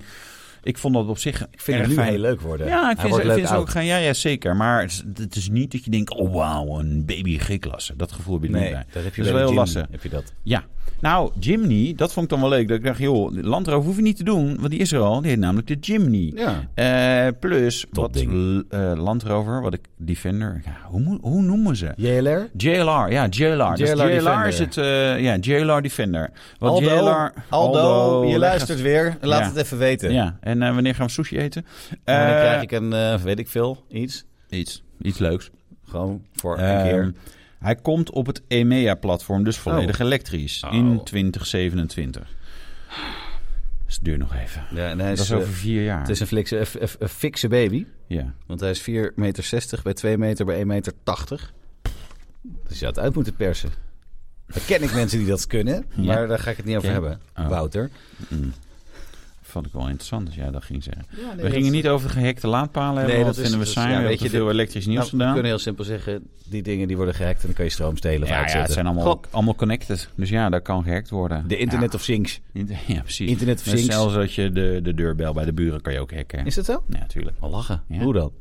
S2: Ik vond dat op zich
S1: Ik vind
S2: erg
S1: het nu
S2: fijn.
S1: heel leuk worden.
S2: Ja, ik
S1: Hij
S2: vind, ze,
S1: wordt
S2: ik
S1: leuk
S2: vind ze ook
S1: oud.
S2: gaan. Ja, ja, zeker. Maar het is, het is niet dat je denkt, oh wauw, een baby G-klasse. Dat gevoel heb je er
S1: Nee,
S2: niet bij.
S1: daar heb je
S2: dat is
S1: bij
S2: wel
S1: de
S2: heel
S1: gym,
S2: lastig.
S1: Heb je dat?
S2: Ja. Nou, Jimny, dat vond ik dan wel leuk. Dat ik dacht, joh, Land Rover hoef je niet te doen, want die is er al. Die heet namelijk de Jimny.
S1: Ja.
S2: Eh, plus, wat
S1: ding.
S2: l- eh, Land Rover, wat ik Defender, ja, hoe, moet- hoe noemen ze?
S1: JLR?
S2: JLR, ja, JLR. Dus
S1: JLR
S2: JLR,
S1: Defender.
S2: is het, eh, ja, JLR Defender. Want
S1: Aldo, Aldo, je
S2: leg
S1: luistert weer. Laat
S2: Ja.
S1: het even
S2: het-
S1: weten.
S2: Ja, en eh, wanneer gaan we sushi eten?
S1: En dan
S2: Eh,
S1: krijg ik een, eh, weet ik veel, iets.
S2: iets, iets leuks.
S1: Gewoon voor een
S2: Ehm,
S1: keer.
S2: hij komt op het EMEA-platform, dus volledig elektrisch,
S1: Oh.
S2: in 2027. Dus het duurt nog even.
S1: Ja, en hij
S2: Dat
S1: is,
S2: is
S1: eh,
S2: over vier jaar.
S1: het is een, flikse, een- een- een fikse baby.
S2: Ja.
S1: Want hij is 4,60 meter bij 2 meter bij 1,80 meter. Dus je had uit moeten persen. Dan ken ik mensen die dat kunnen,
S2: [laughs] Ja.
S1: maar daar ga ik het niet over
S2: Ja.
S1: hebben,
S2: Oh.
S1: Wouter.
S2: Vond ik wel interessant als jij dat ging zeggen.
S1: Ja,
S2: we gingen niet over de gehekte laadpalen hebben,
S1: Nee, dat
S2: want dat
S1: is-
S2: vinden we
S1: dat is-
S2: saai.
S1: ja,
S2: we
S1: weet je,
S2: hebben te veel elektrisch
S1: Nou,
S2: nieuws
S1: We
S2: gedaan.
S1: kunnen heel simpel zeggen, die dingen die worden gehackt en dan kan je stroom stelen of
S2: ja, ja,
S1: uitzetten.
S2: het zijn allemaal,
S1: God,
S2: allemaal connected. Dus ja, daar kan gehackt worden.
S1: de Internet of Things.
S2: Ja, Inter- [laughs] ja, precies.
S1: Internet of
S2: Net
S1: Things.
S2: Zelfs dat je de, de deurbel bij de buren kan je ook hacken.
S1: Is dat zo?
S2: Ja, natuurlijk.
S1: Al lachen.
S2: Ja.
S1: Hoe dan?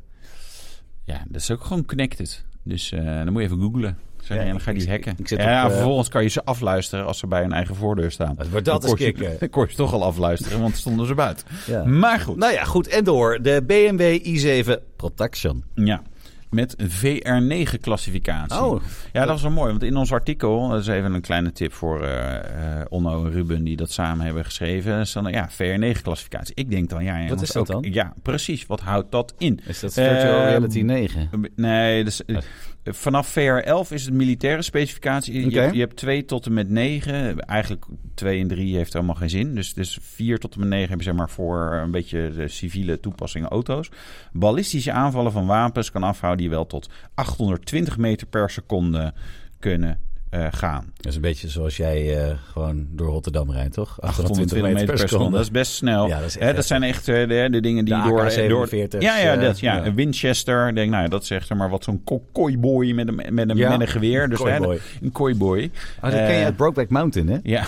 S2: Ja, dat is ook gewoon connected. Dus eh, dan moet je even googlen. Zeg,
S1: Ja,
S2: ja, dan ga je
S1: ik-
S2: die
S1: ik-
S2: hacken.
S1: ik zit
S2: ja,
S1: op, eh,
S2: vervolgens kan je ze afluisteren als ze bij hun eigen voordeur staan.
S1: wordt dat
S2: Dan
S1: eens
S2: kon je-
S1: kicken.
S2: Dan kon je ze toch al afluisteren, want stonden ze buiten.
S1: Ja.
S2: Maar goed.
S1: Nou ja, goed. En door. De BMW i7 Protection.
S2: Ja. Met een VR9-classificatie.
S1: Oh.
S2: Ja, dat is wel mooi. Want in ons artikel, dat is even een kleine tip voor eh, eh, Onno en Ruben die dat samen hebben geschreven. Is dan, ja, VR9-classificatie. Ik denk dan, ja, jongens,
S1: is dat
S2: ook-
S1: dan?
S2: Ja, precies. Wat houdt dat in?
S1: Is dat Virtual
S2: Ehm,
S1: Reality 9?
S2: Nee, dus, eh, vanaf VR11 is het militaire specificatie. Je,
S1: Oké.
S2: hebt, je hebt 2 tot en met 9. Eigenlijk 2 en 3 heeft helemaal geen zin. Dus, dus 4 tot en met 9 heb je zeg maar voor een beetje de civiele toepassingen auto's. Ballistische aanvallen van wapens kan afhouden die wel tot 820 meter per seconde kunnen eh, gaan.
S1: Dat is een beetje zoals jij eh, gewoon door Rotterdam rijdt, toch?
S2: 120 meter per seconde. Dat is best snel.
S1: Ja, dat
S2: dat,
S1: is echt
S2: dat zijn echt eh, de, de dingen die
S1: De
S2: door...
S1: AK-47's,
S2: door ja, ja, dat, ja.
S1: eh, ja.
S2: Een Winchester. Ik Denk, nou, ja, dat zegt er maar wat zo'n ko- kooiboy met een, met een,
S1: Ja,
S2: met een geweer. Dus, hè,
S1: kooiboy.
S2: een kooiboy.
S1: Oh, dat ken je
S2: Eh,
S1: uit Brokeback Mountain, hè?
S2: Ja.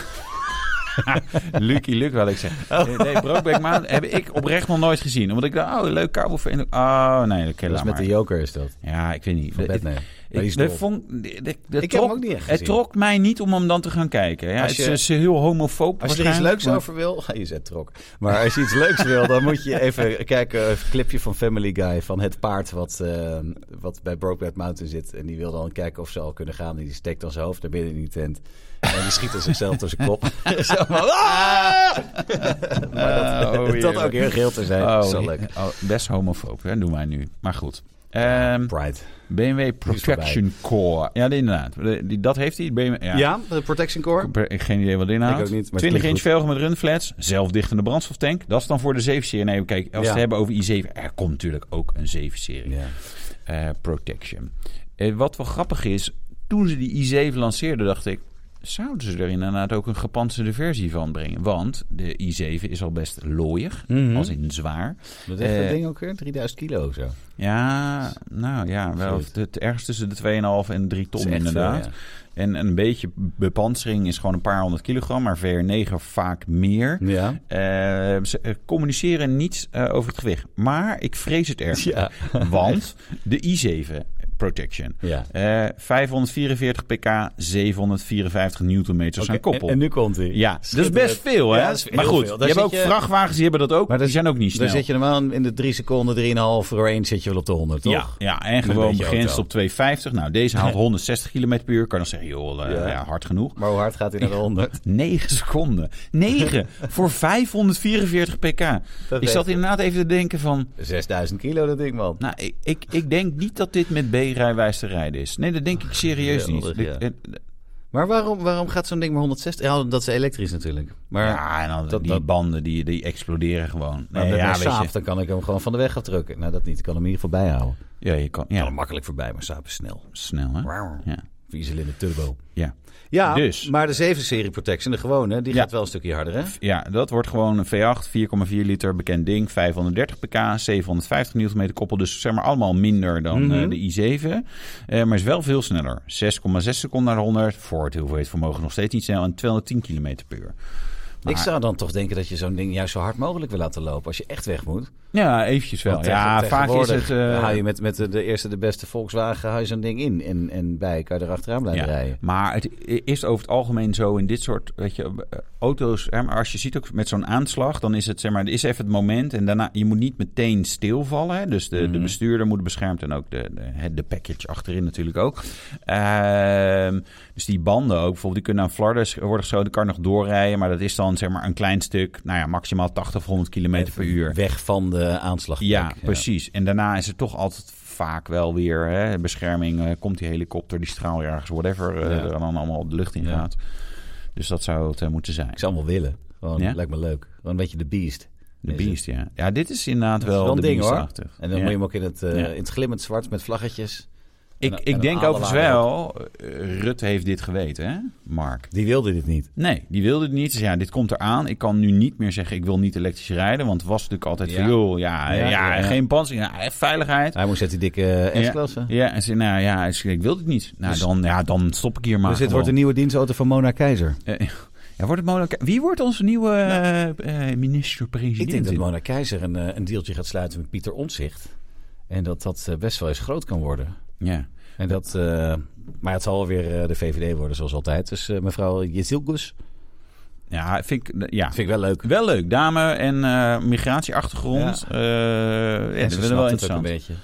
S2: [laughs] Lucky Luke, wel ik
S1: [laughs]
S2: zeg. Nee, nee, Brokeback Mountain heb ik oprecht nog nooit gezien. Omdat ik dacht, oh, leuk cowboyfilm. Oh, nee, dat
S1: Dat is
S2: ken laat
S1: met
S2: maar.
S1: de Joker is dat.
S2: Ja, ik weet niet.
S1: Van
S2: De-
S1: Batman.
S2: Ik,
S1: Maar die is
S2: dat
S1: dol.
S2: vond, de- de- de
S1: hem
S2: trok-
S1: ook niet echt
S2: Het
S1: gezien.
S2: trok mij niet om hem dan te gaan kijken. Ja,
S1: Als
S2: het
S1: je-
S2: is, is eh, heel homofoob
S1: Als je er iets leuks
S2: maar-
S1: over wil, [laughs] je zet trok. Maar als je iets leuks wil, dan moet je
S2: [laughs]
S1: even kijken. Een clipje van Family Guy van het paard wat, eh, wat bij Brokeback Mountain zit. En die wil dan kijken of ze al kunnen gaan. En die steekt dan zijn hoofd naar binnen in die tent. En die schiet dan zichzelf door zijn
S2: [laughs] Oh,
S1: kop. Zo van, "Ah!" maar dat,
S2: Eh, oh,
S1: dat
S2: heerlijk.
S1: ook heel geel te zijn.
S2: Oh,
S1: is wel leuk.
S2: oh, best homofoob, hè, doen wij nu. Maar goed. Ehm,
S1: Pride.
S2: BMW Protection Core. Ja, die inderdaad. De- die- dat heeft hij. BMW, ja.
S1: Ja, de Protection Core.
S2: Ik heb geen idee wat dit inhoudt.
S1: Ik ook niet, maar het
S2: 20 inch
S1: klinkt
S2: velgen met runflats. Zelfdichtende brandstoftank. Dat is dan voor de 7-serie. Nee, kijk, als we
S1: Ja.
S2: het hebben over i7. Er komt natuurlijk ook een 7-serie.
S1: Ja.
S2: eh, Protection. Eh, wat wel grappig is, toen ze die i7 lanceerden, dacht ik... zouden ze er inderdaad ook een gepantserde versie van brengen? Want de i7 is al best looier,
S1: Mhm.
S2: als in zwaar.
S1: Wat heeft dat
S2: Eh,
S1: ding ook weer? 3000 kilo of zo. Dat
S2: Ja, nou ja, wel
S1: Zoiets.
S2: het ergens tussen de 2,5 en 3
S1: is
S2: ton
S1: echt veel,
S2: inderdaad.
S1: ja.
S2: En een beetje bepansering is gewoon een paar honderd kilogram, maar VR9 vaak meer.
S1: Ja.
S2: [laughs] Eh, ze eh, communiceren niets eh, over het gewicht. Maar ik vrees het erg.
S1: Ja. [laughs]
S2: Want de i7 Protection.
S1: Ja.
S2: Eh, 544 pk, 754 newtonmeters aan
S1: Oké, en-
S2: koppel.
S1: En, nu komt hij.
S2: ja, dat is best veel, hè?
S1: Ja, dat is
S2: maar
S1: heel
S2: goed,
S1: veel.
S2: je
S1: Daar
S2: hebt ook
S1: zit je-
S2: vrachtwagens, die hebben dat ook.
S1: Maar
S2: die
S1: dat-
S2: zijn ook niet snel.
S1: Dan zit je normaal in de 3 seconden, 3,5 range zit je wel op de 100, toch?
S2: Ja, ja, en
S1: een
S2: gewoon
S1: beetje
S2: begrensd
S1: auto.
S2: op 250. Nou, deze haalt 160 km per uur. Kan dan zeggen, joh, eh,
S1: Ja.
S2: ja, hard genoeg.
S1: Maar hoe hard gaat hij naar de [laughs] 100?
S2: 9 [laughs] seconden. 9 voor 544 pk.
S1: weet
S2: ik zat
S1: ik.
S2: inderdaad even te denken van...
S1: 6000 kilo, dat ding, man.
S2: Nou, ik, ik, ik denk niet dat dit met B-rijwijs te rijden is. Nee, dat denk ik serieus niet.
S1: Geweldig,
S2: Dit-
S1: ja.
S2: eh,
S1: Maar waarom, waarom gaat zo'n ding maar 160? Ja, dat is elektrisch natuurlijk. Maar,
S2: Ja, en dan
S1: Dat-
S2: die
S1: dat-
S2: banden, die, die exploderen gewoon.
S1: maar
S2: Nee,
S1: met
S2: ja,
S1: een
S2: weet
S1: Saab,
S2: je.
S1: dan kan ik hem gewoon van de weg afdrukken. Nou, dat niet. Ik kan hem in ieder geval bijhouden. Ik
S2: Ja, je kan...
S1: kan
S2: Ja,
S1: hem makkelijk voorbij, maar Saab is snel.
S2: snel, hè? Ja.
S1: Viercilinder turbo.
S2: Ja.
S1: Ja,
S2: Dus.
S1: maar de 7-serie Protection, de gewone, die
S2: Ja.
S1: gaat wel een stukje harder, hè?
S2: Ja, dat wordt gewoon een V8, 4,4 liter, bekend ding, 530 pk, 750 Nm koppel. Dus zeg maar allemaal minder dan
S1: Mhm.
S2: eh, de i7. Eh, maar is wel veel sneller. 6,6 seconden naar de 100. Voor het hoeveelheid vermogen nog steeds niet snel. En 210 km per uur.
S1: Ik zou dan toch denken dat je zo'n ding juist zo hard mogelijk wil laten lopen als je echt weg moet.
S2: Ja, eventjes wel.
S1: Want
S2: ja,
S1: tegen-
S2: vaak is
S1: tegenwoordig
S2: het... eh,
S1: hou je met, met de, de eerste de beste Volkswagen hou je zo'n ding in. En, en bij kan je erachteraan blijven rijden.
S2: Maar het is over het algemeen zo in dit soort weet je, eh, auto's. Hè, maar als je ziet ook met zo'n aanslag, dan is het zeg maar, er is even het moment. En daarna, je moet niet meteen stilvallen. Hè, dus de, de
S1: Mhm.
S2: bestuurder moet beschermd en ook de, de, hè, de package achterin natuurlijk ook. Ehm, dus die banden ook, bijvoorbeeld, die kunnen aan flarden sch- worden geschoten. Kan nog doorrijden, maar dat is dan zeg maar een klein stuk, nou ja, maximaal 80 of 100 kilometer per uur.
S1: Weg van de aanslag.
S2: Ja, precies. En daarna is het toch altijd vaak wel weer hè, bescherming. eh, komt die helikopter, die straaljagers, whatever. eh,
S1: Ja.
S2: er dan allemaal de lucht in
S1: Ja.
S2: gaat. Dus dat zou het eh, moeten zijn.
S1: Ik zou hem wel willen. Gewoon,
S2: Ja?
S1: Lijkt me leuk. Gewoon een beetje de beest.
S2: De
S1: Is het-
S2: beest, ja. Ja, dit is inderdaad
S1: is
S2: wel
S1: wel een
S2: de
S1: ding, hoor.
S2: beestachtig.
S1: En dan
S2: Ja.
S1: moet je hem ook in het, eh,
S2: Ja.
S1: in het glimmend zwart met vlaggetjes.
S2: Ik,
S1: en een
S2: ik denk
S1: adelaar
S2: overigens wel, eh, Rutte heeft dit geweten, hè, Mark?
S1: Die wilde dit niet.
S2: Nee, die wilde het niet. Dus ja, dit komt eraan. Ik kan nu niet meer zeggen, ik wil niet elektrisch rijden. Want het was natuurlijk altijd
S1: Ja.
S2: van, joh, ja, ja,
S1: Ja, ja, ja.
S2: geen pantsering, ja, eh, veiligheid.
S1: Hij moest uit die dikke eh, S-klasse.
S2: Ja, ja, en ze- nou ja, hij zei, ik wil dit niet. Nou,
S1: Dus-
S2: dan, ja, dan stop ik hier maar.
S1: dus dit wordt
S2: gewoon.
S1: de nieuwe dienstauto van Mona Keizer.
S2: Eh, [laughs] ja, wordt het Mona Ke- Wie wordt onze nieuwe eh, eh,
S1: Ik
S2: minister-president?
S1: denk dat Mona Keizer een, eh, een deeltje gaat sluiten met Pieter Omtzigt. En dat dat eh, best wel eens groot kan worden.
S2: Ja.
S1: En dat, eh, maar het zal alweer eh, de VVD worden, zoals altijd. Dus eh, mevrouw Jezilgus.
S2: ja, vind ik, ja.
S1: Vind ik wel leuk.
S2: wel leuk. Dame en eh, migratieachtergrond. Eh, Ja,
S1: En
S2: dat
S1: ze
S2: is
S1: snapt
S2: wel
S1: het ook een
S2: interessant.
S1: beetje.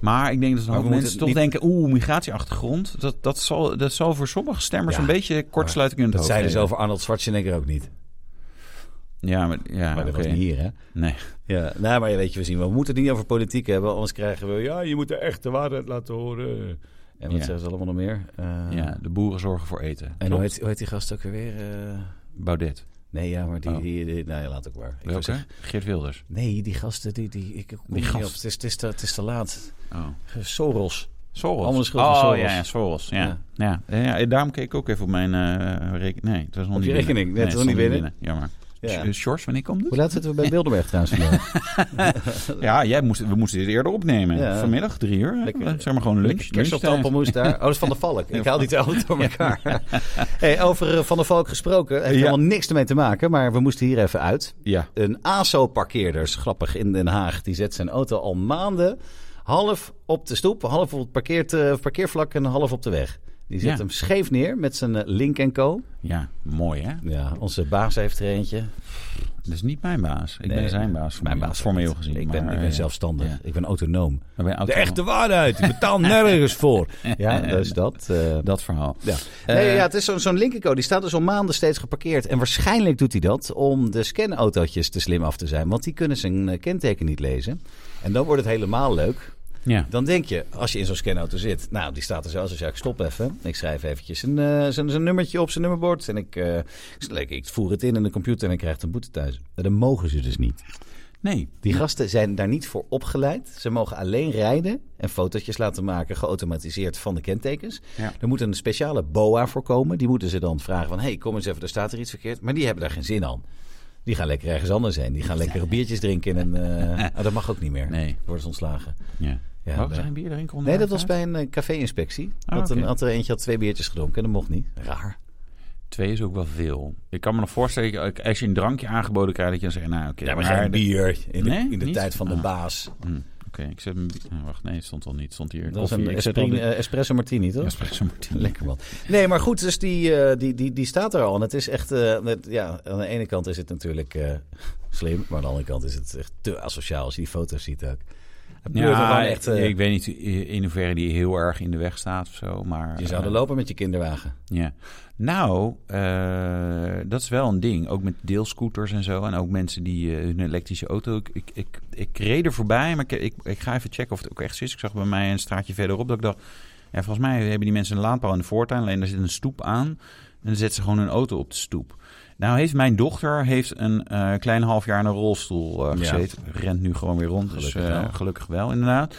S2: maar ik denk dat
S1: Maar
S2: ook
S1: we
S2: mensen
S1: moeten
S2: toch
S1: niet-
S2: denken... Oeh, migratieachtergrond. Dat, dat, zal, dat zal voor sommige stemmers
S1: Ja,
S2: een beetje kortsluiting in het
S1: Dat
S2: hoofd
S1: zeiden ze
S2: geven.
S1: over Arnold Schwarzenegger ook niet.
S2: Ja, maar, ja,
S1: maar dat
S2: Ah,
S1: was
S2: oké.
S1: niet hier, hè?
S2: Nee.
S1: Ja, nou, maar weet je, we zien, we moeten het niet over politiek hebben. Anders krijgen we, ja, je moet de echte waarheid laten horen. En wat
S2: Ja.
S1: zeggen ze allemaal nog meer? Eh,
S2: Ja, de boeren zorgen voor eten.
S1: En
S2: Klopt.
S1: hoe heet, hoe heet die gast ook weer? eh?
S2: Baudet.
S1: nee, ja, maar die,
S2: Oh.
S1: die, die- nou ja, laat ook maar. Ik wou
S2: Welke?
S1: zeggen-
S2: Geert Wilders.
S1: nee, die gasten, die, die, ik kom er niet
S2: gast.
S1: op. Het is, het, is te, het is te laat.
S2: Oh.
S1: Soros.
S2: Soros.
S1: Allemaal de schuld
S2: oh,
S1: van Soros.
S2: ja, ja, Soros. Ja. Ja.
S1: Ja.
S2: Ja. daarom keek ik ook even op mijn eh rekening. Nee, het was nog
S1: Op
S2: niet
S1: je
S2: binnen.
S1: rekening. Nee, het was nog
S2: het
S1: niet
S2: stond Jammer.
S1: Ja.
S2: Eh, Sjors, wanneer komt
S1: Hoe
S2: het?
S1: laat zitten we bij Bilderberg trouwens vandaag?
S2: Ja, jij moest, we moesten dit eerder opnemen.
S1: Ja.
S2: Vanmiddag, drie uur. Eh,
S1: Lekker.
S2: Zeg maar gewoon lunch.
S1: Kerst op de
S2: lunchtijd.
S1: appelmoes
S2: [laughs]
S1: daar. Oh, dat is Van der Valk. Ik haal die twee altijd door elkaar. Hey, over eh, Van der Valk gesproken. Heeft
S2: Ja.
S1: helemaal niks ermee te maken, maar we moesten hier even uit.
S2: Ja.
S1: Een ASO-parkeerder, is grappig, in Den Haag. Die zet zijn auto al maanden half op de stoep, half op het parkeert, eh, parkeervlak en half op de weg. Die zet
S2: Ja.
S1: hem scheef neer met zijn eh, Link Co.
S2: ja, mooi hè?
S1: Ja, onze baas heeft er eentje.
S2: Dat is niet mijn baas. Ik
S1: Nee,
S2: ben zijn baas.
S1: Mijn baas
S2: Formeel gezien.
S1: Ik ben,
S2: maar,
S1: ik ben
S2: eh,
S1: zelfbstandig.
S2: ja.
S1: Ik ben autonoom.
S2: maar ben auto-
S1: De echte waarheid. Ik betaal nergens
S2: [laughs]
S1: voor. Ja, dus dat. eh,
S2: Dat verhaal.
S1: Ja.
S2: Eh,
S1: Nee, ja, het is zo'n zo'n Linkerco. Die staat dus al maanden steeds geparkeerd. En waarschijnlijk doet hij dat om de scanautootjes te slim af te zijn. Want die kunnen zijn eh, kenteken niet lezen. En dan wordt het helemaal leuk.
S2: ja.
S1: Dan denk je, als je in zo'n scanauto zit. Nou, die staat er zo. Dus ja, ik stop even. Ik schrijf eventjes een, eh, zijn, zijn nummertje op zijn nummerbord. En ik, eh, ik, ik voer het in in de computer en ik krijg een boete thuis. Maar Dat mogen ze dus niet.
S2: Nee.
S1: Die gasten zijn daar niet voor opgeleid. Ze mogen alleen rijden en fotootjes laten maken, geautomatiseerd van de kentekens.
S2: Ja.
S1: Er moet een speciale BOA voor komen. Die moeten ze dan vragen van, hey, kom eens even, er staat er iets verkeerd. Maar die hebben daar geen zin aan. Die gaan lekker ergens anders heen. Die gaan lekkere biertjes drinken en
S2: [laughs]
S1: eh, ah, dat mag ook niet meer.
S2: Nee.
S1: Worden ze ontslagen.
S2: Ja.
S1: Ja,
S2: Mag
S1: nee.
S2: zijn bier drinken onder
S1: Nee, dat
S2: elkaar?
S1: was bij een eh, café-inspectie.
S2: Ah,
S1: had, een,
S2: oké.
S1: had er eentje had twee biertjes gedronken en dat mocht niet. Raar.
S2: Twee is ook wel veel. Ik kan me nog voorstellen, ik- als je een drankje aangeboden krijgt, dat je dan zegt, nou oké.
S1: Ja, maar
S2: maar
S1: geen
S2: de-
S1: bier in de,
S2: Nee,
S1: in de
S2: niet?
S1: tijd van de
S2: Ah.
S1: baas.
S2: Hm, Oké, ik zet hem... ah, wacht, nee, het stond al niet. Het stond hier.
S1: Dat was
S2: Koffie,
S1: een
S2: ik zet
S1: espri-
S2: al die-
S1: eh, espresso martini, toch?
S2: Espresso martini.
S1: Lekker man. Nee, maar goed, dus die, eh, die, die, die staat er al. En het is echt, eh, het- ja, aan de ene kant is het natuurlijk eh, slim, maar aan de andere kant is het echt te asociaal als je die foto's ziet ook. Het pleurt er
S2: Ja,
S1: gewoon echt, eh,
S2: ik weet niet in hoeverre die heel erg in de weg staat of zo, maar...
S1: je zou er
S2: eh,
S1: lopen met je kinderwagen.
S2: Ja. Nou, eh, dat is wel een ding. Ook met deelscooters en zo. En ook mensen die eh, hun elektrische auto... Ik, ik, ik, ik reed er voorbij, maar ik, ik, ik ga even checken of het ook echt zo is. Ik zag bij mij een straatje verderop dat ik dacht... Ja, volgens mij hebben die mensen een laadpaal in de voortuin. Alleen daar zit een stoep aan. En dan zetten ze gewoon hun auto op de stoep. Nou heeft mijn dochter heeft een eh, klein half jaar in een rolstoel eh,
S1: Ja.
S2: gezeten. Rent nu gewoon weer rond. dus
S1: Gelukkig
S2: eh,
S1: wel.
S2: gelukkig wel, inderdaad.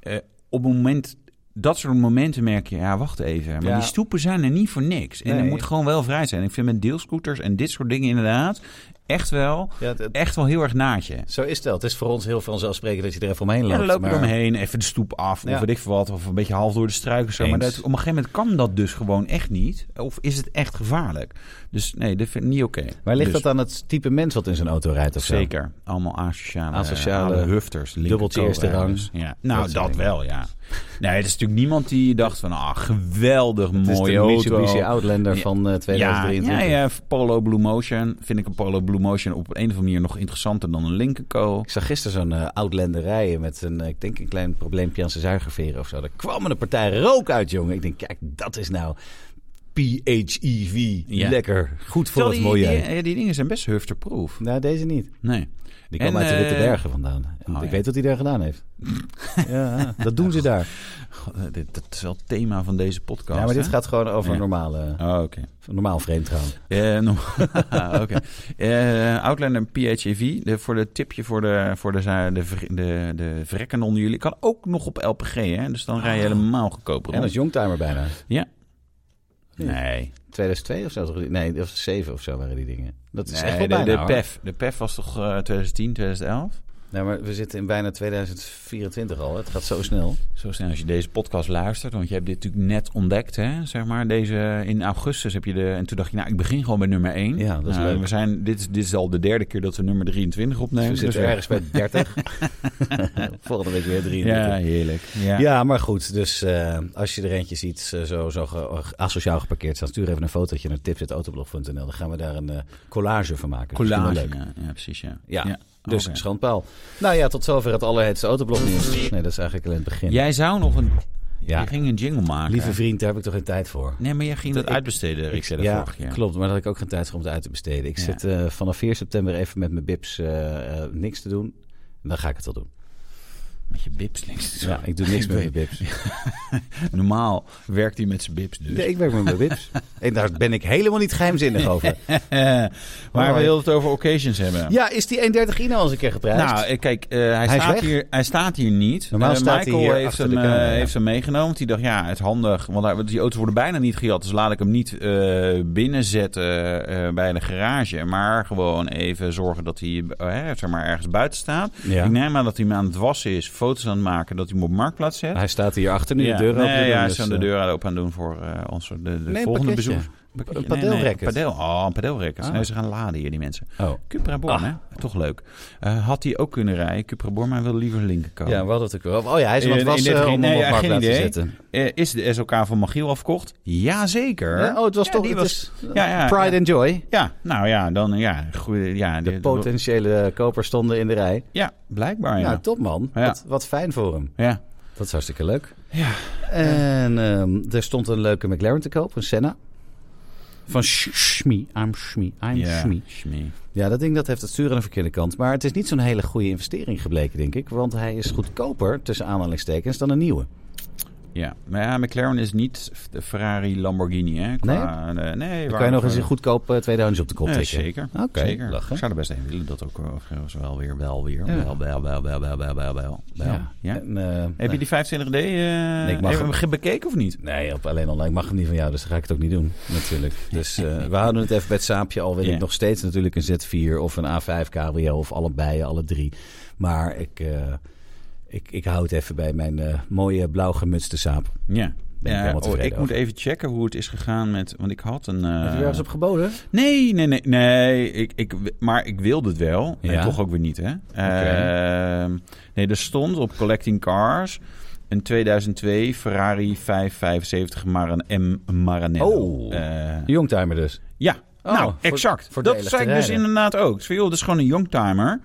S2: Eh, op het moment... Dat soort momenten merk je, ja, wacht even. Maar
S1: Ja.
S2: die stoepen zijn er niet voor niks. En
S1: Nee.
S2: er moet gewoon wel vrij zijn. Ik vind met deelscooters en dit soort dingen inderdaad echt wel,
S1: Ja, het- het-
S2: echt wel heel erg naadje.
S1: zo is dat. Het is voor ons heel vanzelfsprekend dat je er even omheen loopt.
S2: Ja, dan loop je
S1: maar-
S2: eromheen, even de stoep af,
S1: Ja.
S2: of weet ik veel wat, of een beetje half door de struiken. Zo. Maar
S1: Eens.
S2: dat, op een gegeven moment kan dat dus gewoon echt niet. Of is het echt gevaarlijk? Dus nee, dat vind ik niet oké.
S1: Maar ligt
S2: Dus
S1: dat aan het type mens wat in zijn auto rijdt of zo?
S2: Zeker. Allemaal asociale,
S1: Asociale,
S2: alle hufters.
S1: dubbeltje
S2: linkerkool
S1: eerste rang.
S2: ergens. Ja. Nou,
S1: Dat
S2: dat,
S1: soort
S2: wel, ja. Nee, het is natuurlijk niemand die dacht van, ah, geweldig
S1: Het is
S2: mooie
S1: de Mitsubishi
S2: auto.
S1: Outlander
S2: Ja.
S1: van eh,
S2: Ja,
S1: 2023.
S2: ja, ja, Polo Blue Motion. Vind ik een Polo Blue Motion op een of andere manier nog interessanter dan een Lincoln.
S1: Ik zag gisteren zo'n eh, Outlander rijden met een, eh, ik denk een klein probleempje aan zijn zuigerveren of zo. Daar kwam een partij rook uit, jongen. Ik denk, kijk, dat is nou PHEV.
S2: Ja.
S1: Lekker. Goed voor
S2: Terwijl
S1: het
S2: die- eh,
S1: milieu.
S2: Die, die, dingen zijn best hufterproof.
S1: Nou, deze niet.
S2: Nee.
S1: Die kwam
S2: En,
S1: uit de Witte
S2: eh,
S1: Bergen vandaan. En
S2: oh,
S1: ik
S2: ja.
S1: weet wat hij daar gedaan
S2: [laughs]
S1: heeft. ja, dat doen ze daar.
S2: God, eh, dit, dat is wel het thema van deze podcast.
S1: Ja, maar dit
S2: hè?
S1: gaat gewoon over
S2: Ja.
S1: normale,
S2: Oh, oké.
S1: normaal vreemd gaan.
S2: Eh, nog- [laughs] Ah, oké. Eh, Outlander PHEV, de, voor de tipje voor de, voor de, za- de, vri- de, de vrekken onder jullie, kan ook nog op LPG, hè? Dus dan rij je helemaal goedkoper.
S1: Ah. En als Youngtimer bijna.
S2: Ja. Nee.
S1: 2002 of zo? toch? Nee, of 7 of zo waren die dingen. Dat is
S2: Nee,
S1: echt wel
S2: de,
S1: bijna,
S2: de,
S1: hoor.
S2: PEF, de PEF was toch eh, 2010, 2011?
S1: Nou, maar we zitten in bijna 2024 al. Het gaat zo snel.
S2: Zo snel als je deze podcast luistert, want je hebt dit natuurlijk net ontdekt, hè? Zeg maar, deze in augustus heb je de. En toen dacht je, nou, ik begin gewoon bij nummer 1.
S1: Ja, dat is leuk.
S2: We zijn, dit, is, dit is al de derde keer dat we nummer 23 opnemen.
S1: Dus we zitten
S2: Dus,
S1: ergens bij
S2: [laughs]
S1: 30. [laughs] Volgende week weer
S2: eh,
S1: 33.
S2: Ja,
S1: Ja,
S2: heerlijk. Ja.
S1: maar goed. Dus eh, als je er eentje ziet, eh, zo, zo ge- asociaal geparkeerd staat, stuur even een fotootje naar tips.autoblog.nl. Dan gaan we daar een eh, collage van maken. Dat is
S2: Collage.
S1: misschien wel leuk.
S2: Ja, ja, precies. Ja.
S1: Ja, dus
S2: oké.
S1: schandpaal. Nou ja, tot zover het allerheetste autoblognieuws. Nee, dat is eigenlijk alleen het begin.
S2: Jij zou nog een.
S1: Ja.
S2: Je ging een jingle maken.
S1: Lieve vriend, daar heb ik toch geen tijd voor.
S2: Nee, maar jij ging dat uitbesteden, Rick, zei dat
S1: ja,
S2: vorige keer.
S1: klopt. Maar daar had ik ook geen tijd voor om het uit te besteden. Ik
S2: Ja.
S1: zit eh, vanaf 4 september even met mijn bips eh, eh, niks te doen. En dan ga ik het wel doen.
S2: Met je bips links. [laughs]
S1: Ja, ik doe niks met mijn bips.
S2: Normaal werkt hij met zijn bips dus.
S1: Nee, ik werk met mijn [laughs] wips. En daar ben ik helemaal niet [laughs] geheimzinnig over.
S2: [laughs] maar we
S1: Mooi.
S2: wilden het over occasions hebben.
S1: Ja, is die 1,30 Ino al eens een keer geprijsd?
S2: Nou, eh, kijk, eh, hij,
S1: Hij is
S2: staat
S1: weg.
S2: hier, hij staat hier niet.
S1: Normaal
S2: Eh,
S1: staat hij
S2: Michael
S1: hier
S2: heeft
S1: achter
S2: hem,
S1: de camera,
S2: eh,
S1: ja.
S2: heeft hem meegenomen. Want die dacht, ja, het is handig. Want hij- want die auto's worden bijna niet gejat. Dus laat ik hem niet eh, binnenzetten eh, bij de garage. Maar gewoon even zorgen dat hij eh, zeg maar ergens buiten staat.
S1: Ja.
S2: Ik neem aan dat hij hem aan het wassen is. Foto's aan het maken. Dat hij hem op marktplaats zet.
S1: hij staat hier achter nu
S2: Ja.
S1: de deur open.
S2: nee,
S1: te doen,
S2: ja, hij
S1: dus,
S2: is aan de
S1: eh,
S2: deur aan open aan het doen voor eh ons de, de
S1: Nee, een
S2: volgende
S1: pakketje.
S2: bezoekers. Pakketje.
S1: Een
S2: Nee, nee,
S1: padeelracket.
S2: padeel. Oh, een padeelracket.
S1: Ah.
S2: Nee, ze gaan laden hier, die mensen.
S1: Oh.
S2: Cupra Born,
S1: Ah.
S2: hè? Toch leuk. Eh, had hij ook kunnen rijden, Cupra Born, maar hij wil liever linker komen.
S1: Ja, we hadden het ook over. Oh ja, hij is aan het
S2: In- in dit
S1: wassen
S2: geval-
S1: om
S2: nee,
S1: hem op
S2: ja, geen
S1: marktplaats te
S2: idee.
S1: zetten.
S2: Eh, is de SOK van Magiel afgekocht? Jazeker.
S1: Ja, oh, het was
S2: Ja,
S1: toch
S2: die
S1: het
S2: was-
S1: is,
S2: ja, ja,
S1: Pride
S2: ja.
S1: and Joy.
S2: Ja, nou ja, dan ja. Goeie, ja
S1: De
S2: dit-
S1: potentiële kopers stonden in de rij.
S2: Ja, blijkbaar
S1: Ja,
S2: ja.
S1: top man.
S2: Ja.
S1: Wat, wat fijn voor hem.
S2: Ja,
S1: Dat is hartstikke leuk.
S2: Ja.
S1: En ehm, er stond een leuke McLaren te koop, een Senna. Van Sch- Schmie, I'm Schmie, I'm
S2: ja.
S1: Schmie.
S2: Schmie.
S1: Ja, dat ding dat heeft het stuur aan de verkeerde kant. Maar het is niet zo'n hele goede investering gebleken, denk ik. Want hij is goedkoper, tussen aanhalingstekens, dan een nieuwe.
S2: Ja, maar ja, McLaren is niet de Ferrari Lamborghini, hè? nee, nee
S1: Dan
S2: waar-
S1: kan je nog eens een goedkoop eh, tweedehands op de kop
S2: Ja,
S1: tikken.
S2: zeker.
S1: Oké,
S2: zeker.
S1: lachen.
S2: Ik zou er best heen willen dat ook eh, overigens wel weer, wel weer.
S1: Ja.
S2: Wel, wel, wel, wel, wel, wel, wel, wel.
S1: Ja.
S2: Ja. Ja?
S1: En, eh,
S2: Heb je die 25D? eh nee,
S1: ik mag
S2: heb je hem bekeken of niet?
S1: Nee, op alleen online. Ik mag het niet van jou, dus dan ga ik het ook niet doen. Natuurlijk. Dus eh, we houden het even bij het saapje. Al wil
S2: Ja.
S1: ik nog steeds natuurlijk een Z4 of een A5 cabrio of allebei, alle drie. Maar ik, eh, ik, ik hou het even bij mijn eh, mooie blauw gemutste saap.
S2: Ja.
S1: Ben ik
S2: Ja,
S1: helemaal
S2: oh,
S1: tevreden
S2: ik moet
S1: over.
S2: even checken hoe het is gegaan met. Want ik had een. eh,
S1: Heb je ergens op geboden?
S2: Nee, nee, nee. nee ik, ik, maar ik wilde het wel.
S1: Ja?
S2: En toch ook weer niet, hè? Ehm, nee, er stond op Collecting Cars een 2002 Ferrari 575 Maran M Maranello.
S1: Oh.
S2: Eh,
S1: Een Youngtimer dus.
S2: ja,
S1: Oh,
S2: nou,
S1: voor-
S2: exact. dat
S1: voordelig
S2: zei
S1: te
S2: ik dus
S1: rijden.
S2: inderdaad ook. Dus van, joh, dat is gewoon een youngtimer.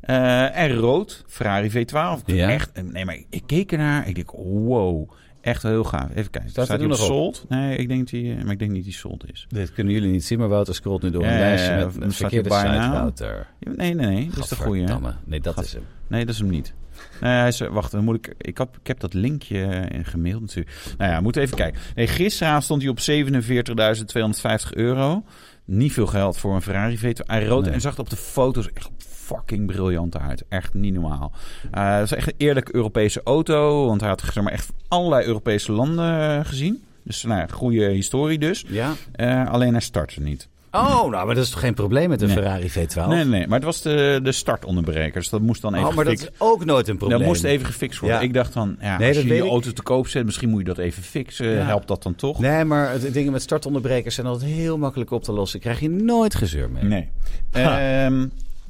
S2: Eh, en rood, Ferrari V12.
S1: Ja.
S2: Echt, nee, maar ik keek ernaar. Ik denk, wow, echt heel gaaf. Even kijken.
S1: Staat
S2: Staat,
S1: hij
S2: hij op
S1: nog op?
S2: sold? Nee, ik denk, dat die, maar ik denk niet die sold is.
S1: Dit kunnen jullie niet zien, maar Wouter scrolt nu door een
S2: Ja,
S1: lijstje
S2: ja, ja.
S1: met
S2: Dan
S1: een
S2: staat
S1: verkeerde
S2: hij
S1: site,
S2: bijna.
S1: Wouter.
S2: Ja, Nee, nee, nee. Dat is de goeie. hè?
S1: Gadverdamme. Nee, dat is hem.
S2: Nee, dat is hem niet. Nee, hij is, wacht, dan moet ik, ik, heb, ik heb dat linkje eh, gemaild natuurlijk. Nou ja, moet even kijken. Nee, gisteravond stond hij op 47.250 euro. Niet veel geld voor een Ferrari V12. Hij rood
S1: Nee.
S2: en zag het op de foto's echt fucking briljant uit. Echt niet normaal. Eh het is echt een eerlijke Europese auto. Want hij had zeg maar, echt allerlei Europese landen eh, gezien. Dus nou ja, goede historie dus.
S1: Ja.
S2: Eh, alleen hij startte niet.
S1: Oh, nou, maar dat is toch geen probleem met een
S2: Nee.
S1: Ferrari V12?
S2: Nee, nee, maar het was de, de startonderbreker. Dus dat moest dan even
S1: Oh, maar dat
S2: gefixt
S1: is ook nooit een probleem.
S2: Dat moest even gefixt worden.
S1: Ja.
S2: Ik dacht van, ja,
S1: Nee,
S2: als
S1: dat
S2: je
S1: weet
S2: je
S1: ik.
S2: auto te koop zet, misschien moet je dat even fixen.
S1: Ja.
S2: Helpt dat dan toch?
S1: Nee, maar het- dingen met startonderbrekers zijn altijd heel makkelijk op te lossen. Krijg je nooit gezeur mee.
S2: Nee. Ehm,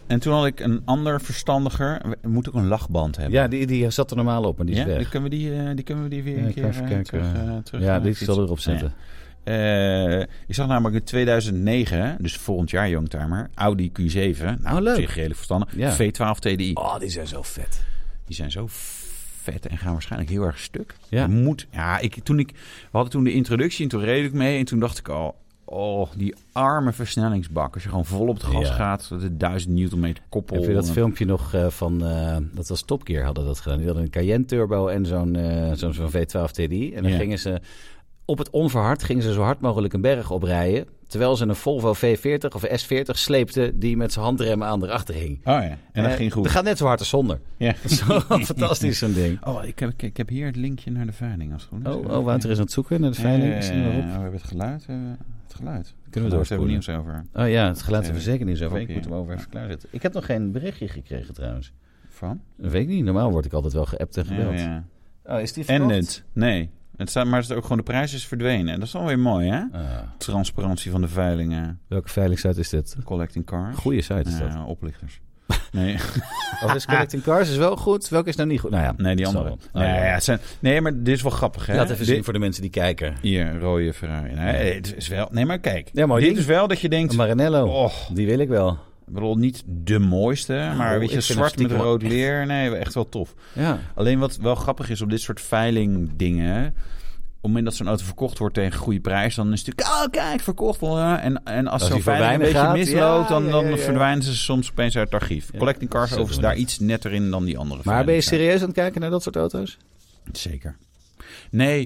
S2: en toen had ik een ander verstandiger. We- Moet ook een lachband hebben.
S1: Ja, die, die zat er normaal op, maar die is
S2: Ja?
S1: weg.
S2: Die kunnen we die, eh, die kunnen we die weer
S1: Ja,
S2: een
S1: ik
S2: keer
S1: ga even
S2: eh,
S1: kijken.
S2: terug, eh, terug
S1: ja,
S2: eh,
S1: die
S2: fietsen.
S1: zal erop zetten.
S2: Eh, ik zag namelijk in 2009, dus volgend jaar Youngtimer, Audi Q7. Nou,
S1: Oh, leuk.
S2: op zich redelijk verstandig.
S1: Ja.
S2: V12 TDI.
S1: Oh, die zijn zo vet.
S2: Die zijn zo vet en gaan waarschijnlijk heel erg stuk.
S1: Ja.
S2: Je Moet, ja ik, toen ik, we hadden toen de introductie en toen reed ik mee. En toen dacht ik al, oh, die arme versnellingsbak. Als je gewoon vol op het gas
S1: Ja.
S2: gaat, de 1000 newtonmeter koppel.
S1: Heb je dat
S2: en-
S1: filmpje nog eh, van, eh, dat was Top Gear hadden dat gedaan. Die hadden een Cayenne Turbo en zo'n eh, zo'n zo'n V12 TDI. En dan
S2: Ja.
S1: gingen ze, op het onverhard gingen ze zo hard mogelijk een berg oprijden. Terwijl ze een Volvo V40 of S40 sleepten die met zijn handremmen aan erachter hing.
S2: Oh ja, en dat
S1: Eh,
S2: ging goed.
S1: Dat gaat net zo hard als zonder.
S2: Ja.
S1: [laughs] Dat is zo fantastisch zo'n ding.
S2: Oh, ik heb, ik, ik heb hier het linkje naar de veiling. Als het goed is.
S1: Oh, oh, Wouter is aan het zoeken naar de
S2: Ja,
S1: veiling.
S2: ja,
S1: Is die
S2: ja,
S1: erop?
S2: ja, we hebben het geluid. eh, het geluid.
S1: Kunnen we
S2: Daar hebben
S1: doorspoelen.
S2: we nieuws over.
S1: Oh ja, het geluid hebben we
S2: Even
S1: zeker niet zo over. Ik
S2: kopje.
S1: moet hem over even klaarzetten. Ik heb nog geen berichtje gekregen trouwens.
S2: Van?
S1: Dat weet ik niet. Normaal word ik altijd wel geappt en gebeld.
S2: Ja, ja.
S1: Oh, is die
S2: En het. Nee. Het staat, maar het is ook gewoon de prijs is verdwenen. Dat is alweer mooi, hè? Transparantie van de veilingen.
S1: Ah. welke veiligsite is dit?
S2: Collecting cars.
S1: Goede site is dat.
S2: Ja, oplichters. [laughs] Nee,
S1: Of is Collecting Cars is wel goed. Welke is nou niet goed? Nou ja,
S2: nee die
S1: zal
S2: andere.
S1: wel.
S2: Nee,
S1: Oh, ja.
S2: ja, het zijn, nee, maar dit is wel grappig, hè?
S1: Laat even
S2: Dit-
S1: zien voor de mensen die kijken.
S2: Hier, een rode Ferrari. Nee, het is wel... Nee, maar kijk.
S1: Ja, mooi
S2: dit
S1: ding.
S2: is wel dat je
S1: Een
S2: denkt...
S1: Maranello.
S2: Oh,
S1: Die wil ik wel.
S2: ik bedoel, niet de mooiste, maar
S1: Oh,
S2: weet je,
S1: ik vind
S2: zwart
S1: het stiekem
S2: met
S1: wel
S2: rood leer. Nee, echt wel tof.
S1: Ja.
S2: Alleen wat wel grappig is op dit soort veilingdingen... Op het moment dat zo'n auto verkocht wordt tegen een goede prijs... dan is het natuurlijk... Oh, kijk, verkocht worden. En, en als,
S1: Als
S2: zo'n
S1: die voor
S2: veiling een beetje
S1: weinig gaat,
S2: misloopt...
S1: ja,
S2: dan,
S1: ja,
S2: dan
S1: ja, ja.
S2: verdwijnen ze soms opeens uit het archief.
S1: Ja,
S2: Collecting cars
S1: zo doen we
S2: overigens daar
S1: dat.
S2: iets netter in dan die andere
S1: Maar ben je
S2: veilingen.
S1: serieus aan het kijken naar dat soort auto's?
S2: Zeker.
S1: [laughs]
S2: Nee,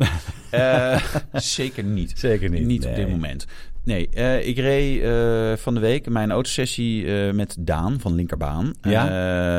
S2: eh, zeker niet.
S1: Zeker niet.
S2: Niet op
S1: Nee.
S2: dit moment. Nee, eh, ik reed eh, van de week mijn autosessie eh, met Daan van Linkerbaan.
S1: Ja?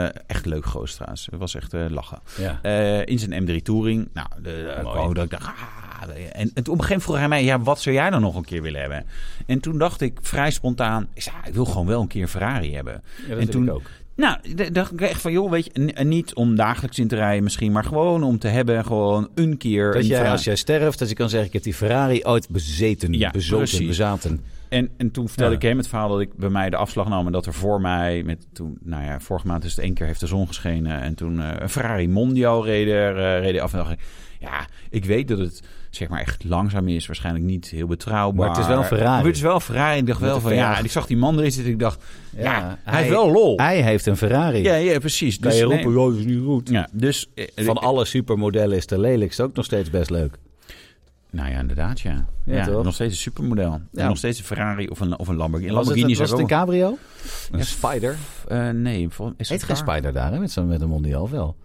S2: Eh, echt leuk goos trouwens. Het was echt eh, lachen.
S1: Ja.
S2: Eh, in zijn M3 Touring. Nou, de, eh,
S1: Mooi.
S2: kwam dat ik dacht... ah, en, en op een gegeven moment vroeg hij mij... Ja, wat zou jij nou nog een keer willen hebben? En toen dacht ik vrij spontaan... Ik, zei, "Ah, ik wil gewoon wel een keer een Ferrari hebben.
S1: dat
S2: en
S1: wil
S2: toen
S1: ik ook.
S2: Nou, d- dacht ik echt van... Joh, weet je... n- en niet om dagelijks in te rijden misschien... Maar gewoon om te hebben... Gewoon een keer
S1: Dat
S2: een
S1: jij,
S2: Ferrari.
S1: als jij sterft, dat je kan zeggen: Ik heb die Ferrari ooit bezeten,
S2: Ja,
S1: bezoten,
S2: precies.
S1: bezaten.
S2: En, en toen vertelde
S1: Ja.
S2: ik hem het verhaal dat ik bij mij de afslag nam. En dat er voor mij, met toen, nou ja, vorige maand is het één keer heeft de zon geschenen. En toen eh, een Ferrari Mondial reden er, eh, reden af. En dacht ik, ja, ik weet dat het zeg maar echt langzaam is. Waarschijnlijk niet heel betrouwbaar.
S1: Maar het is wel een Ferrari.
S2: Maar het is wel een Ferrari. Ik dacht
S1: Met
S2: wel
S1: een
S2: van, ja,
S1: verjaardag.
S2: en ik zag die man erin zitten. Ik dacht, ja, hij,
S1: hij-
S2: heeft wel lol.
S1: Hij heeft een Ferrari.
S2: ja, ja, precies. Dus
S1: kan je
S2: nee.
S1: roepen: "Oh, dat is niet goed.
S2: Ja, dus... eh,
S1: Van
S2: ik-
S1: alle supermodellen is de lelijkste ook nog steeds best leuk.
S2: Nou ja, inderdaad, ja.
S1: Ja,
S2: Ja,
S1: toch?
S2: nog steeds een supermodel.
S1: Ja.
S2: En nog steeds een Ferrari of een, of een Lamborghini.
S1: was het,
S2: Lamborghini
S1: was
S2: is
S1: het
S2: ook
S1: een cabrio? Een
S2: Ja,
S1: spider?
S2: wel- eh, nee, volgens is
S1: Heet
S2: het
S1: geen
S2: daar?
S1: spider daar, hè? Met, zo'n- met een mondial wel.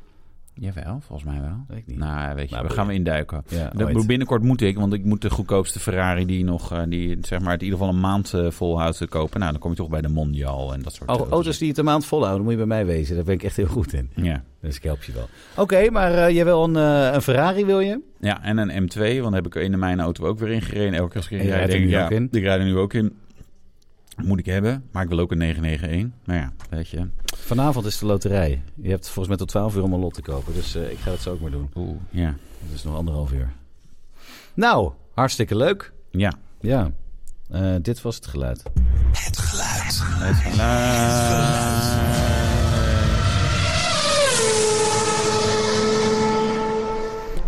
S2: Jawel, volgens mij wel.
S1: Weet ik niet.
S2: Nou, weet je,
S1: Maar
S2: we
S1: boeien.
S2: gaan we induiken.
S1: Ja,
S2: Dat
S1: ooit.
S2: moet- binnenkort moet ik, want ik moet de goedkoopste Ferrari die nog, eh, die zeg maar het in ieder geval een maand eh, volhoudt te kopen. Nou, dan kom je toch bij de Mondial en dat soort
S1: Oh,
S2: eh,
S1: auto's die het een maand volhouden, moet je bij mij wezen. Daar ben ik echt heel goed in.
S2: Ja.
S1: Dus ik help je wel. Oké, maar eh, je wil een, eh, een Ferrari, wil je?
S2: ja, en een M2, want daar heb ik in mijn auto ook weer ingereden. Elke keer als ik
S1: En je
S2: erin rijd,
S1: rijdt er
S2: denk ik,
S1: nu
S2: ja,
S1: ook in?
S2: ik rijd er nu ook in. Moet ik hebben, maar ik wil ook een 991. Nou ja, weet je.
S1: Vanavond is de loterij. Je hebt volgens mij tot 12 uur om een lot te kopen. Dus eh, ik ga dat zo ook maar doen.
S2: Oeh, ja.
S1: Dat is nog anderhalf uur. Nou, hartstikke leuk.
S2: Ja.
S1: Ja, Eh, dit was het geluid. Eh,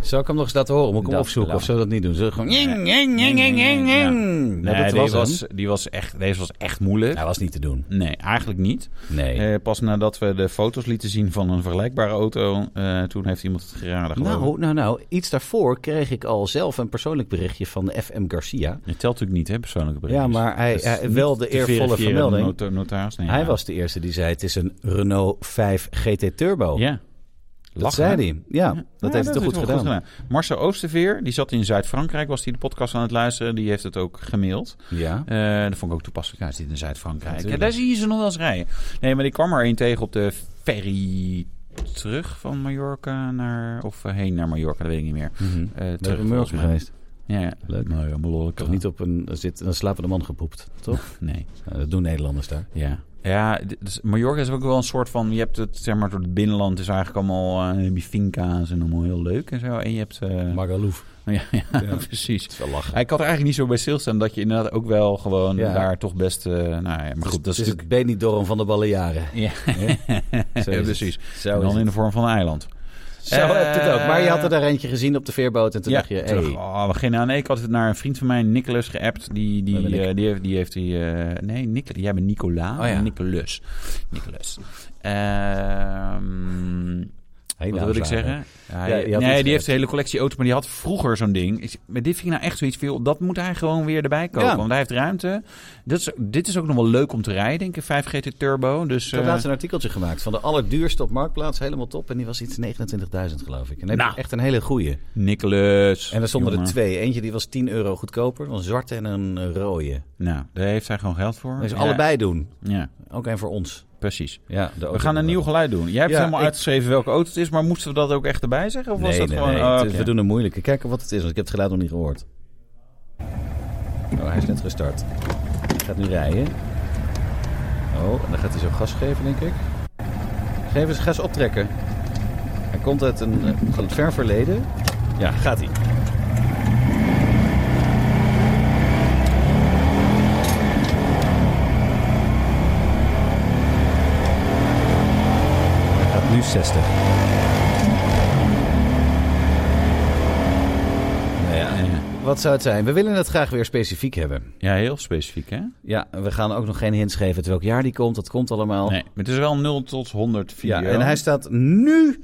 S1: Zou ik hem nog eens laten horen? Moet ik hem
S2: Dat
S1: opzoeken of
S2: laat.
S1: zullen we dat niet doen? Zullen we gewoon...
S2: Nee, nee, nee, nee, nee.
S1: Nou,
S2: Nee,
S1: dat
S2: die
S1: was
S2: was,
S1: hem. Nou.
S2: die was echt, deze was echt moeilijk.
S1: Hij was niet te doen.
S2: Nee, eigenlijk niet.
S1: Nee.
S2: Eh, pas nadat we de foto's lieten zien van een vergelijkbare auto, eh, toen heeft iemand het geraden. geloof ik.
S1: nou, nou, nou, iets daarvoor kreeg ik al zelf een persoonlijk berichtje van de FM Garcia. Dus
S2: Het telt natuurlijk niet, hè, persoonlijke
S1: Ja,
S2: berichtjes.
S1: maar hij,
S2: Dat is
S1: hij-
S2: niet
S1: wel de
S2: te
S1: eervolle
S2: verifiëren door
S1: vermelding.
S2: noto- notaris. Nee,
S1: Hij
S2: ja.
S1: was de eerste die zei: Het is een Renault 5 GT Turbo.
S2: Ja.
S1: dat
S2: Lachen,
S1: zei
S2: hè?
S1: hij. Ja,
S2: Ja,
S1: dat
S2: ja,
S1: heeft hij toch goed
S2: wel
S1: gedaan.
S2: Marcel Oosterveer, die zat in Zuid-Frankrijk, was hij de podcast aan het luisteren. Die heeft het ook gemaild.
S1: Ja.
S2: Eh, dat vond ik ook toepasselijk. Hij zit in Zuid-Frankrijk.
S1: Natuurlijk.
S2: Ja, daar zie je ze nog wel eens rijden. Nee, maar die kwam er een tegen op de ferry terug van Mallorca naar... Of eh, heen naar Mallorca, dat weet ik niet meer.
S1: Mhm.
S2: Eh,
S1: We hebben
S2: terug,
S1: Murks
S2: volgens mij.
S1: geweest.
S2: Ja, ja.
S1: Leuk.
S2: Nou ja,
S1: Ik had niet op een, er zit een slapende man gepoept, toch?
S2: Nee.
S1: Nou, dat doen Nederlanders daar.
S2: Ja. Ja, d- dus Mallorca is ook wel een soort van... Je hebt het, zeg maar, door het binnenland is eigenlijk allemaal... eh, heb je finca's en allemaal heel leuk en zo. En je hebt... eh,
S1: Magalouf.
S2: [laughs] ja, ja,
S1: Ja.
S2: [laughs] precies.
S1: Het is wel lachen.
S2: Ik had er eigenlijk niet zo bij stilstaan dat je inderdaad ook wel gewoon
S1: Ja.
S2: daar toch best... eh, nou ja, maar goed, dat is
S1: het is
S2: natuurlijk...
S1: het Benidorm van de Balearen.
S2: Ja, [laughs]
S1: Zo is
S2: ja,
S1: het.
S2: precies.
S1: Zo,
S2: En
S1: is
S2: dan in
S1: het.
S2: de vorm van een eiland.
S1: Zo heb je het ook. Maar je had er
S2: Eh,
S1: daar eentje gezien op de veerboot en toen dacht je... Hey.
S2: terug. Oh, we gingen aan. Nee, ik had het naar een vriend van mij, Nicolas, geappt. Die, die,
S1: Waar ben ik?
S2: eh, die heeft die. Heeft die eh, nee, Nicolas, jij bent Nicola.
S1: Oh ja.
S2: Nicolas. Nicolas. Ehm,
S1: Hey,
S2: wat
S1: nou,
S2: wil ik
S1: zware.
S2: zeggen? Hij-
S1: Ja, je had iets
S2: nee, die
S1: geappt.
S2: heeft de hele collectie auto's, maar die had vroeger zo'n ding. Ik zeg, Maar dit vind ik nou echt zoiets veel. Dat moet hij gewoon weer erbij kopen,
S1: Ja.
S2: want hij heeft ruimte. Dat is, dit is ook nog wel leuk om te rijden, denk ik. 5 GT Turbo. Dus,
S1: Ik heb
S2: eh,
S1: laatst een artikeltje gemaakt van de allerduurste op Marktplaats, helemaal top. En die was iets 29.000 geloof ik. En dan heb je
S2: Nou.
S1: echt een hele goeie.
S2: Nicolas.
S1: En er stonden er
S2: jongen.
S1: twee. Eentje die was 10 euro goedkoper. Een zwarte en een rode.
S2: Nou, daar heeft hij gewoon geld voor.
S1: Dus
S2: Ja.
S1: allebei doen.
S2: Ja,
S1: Ook één voor ons.
S2: precies.
S1: Ja,
S2: We gaan een nieuw geluid doen. Jij hebt
S1: Ja,
S2: helemaal
S1: ik-
S2: uitgeschreven welke auto het is, maar moesten we dat ook echt erbij zeggen? Of was
S1: Nee,
S2: dat
S1: nee,
S2: gewoon...
S1: nee.
S2: oh,
S1: Het-
S2: oké.
S1: We doen een moeilijke. Kijken wat het is, want ik heb het geluid nog niet gehoord. Oh, hij is net gestart. Hij gaat nu rijden. Oh, en dan gaat hij zo gas geven, denk ik. Geef eens gas optrekken. Hij komt uit een eh, ver verleden. Ja, gaat hij. Hij gaat nu 60. Nou ja, wat zou het zijn? We willen het graag weer specifiek hebben.
S2: Ja, heel specifiek, hè?
S1: Ja, we gaan ook nog geen hints geven uit welk jaar die komt. Dat komt allemaal.
S2: Nee, maar het is wel 0 tot 100 video.
S1: ja, en hij staat nu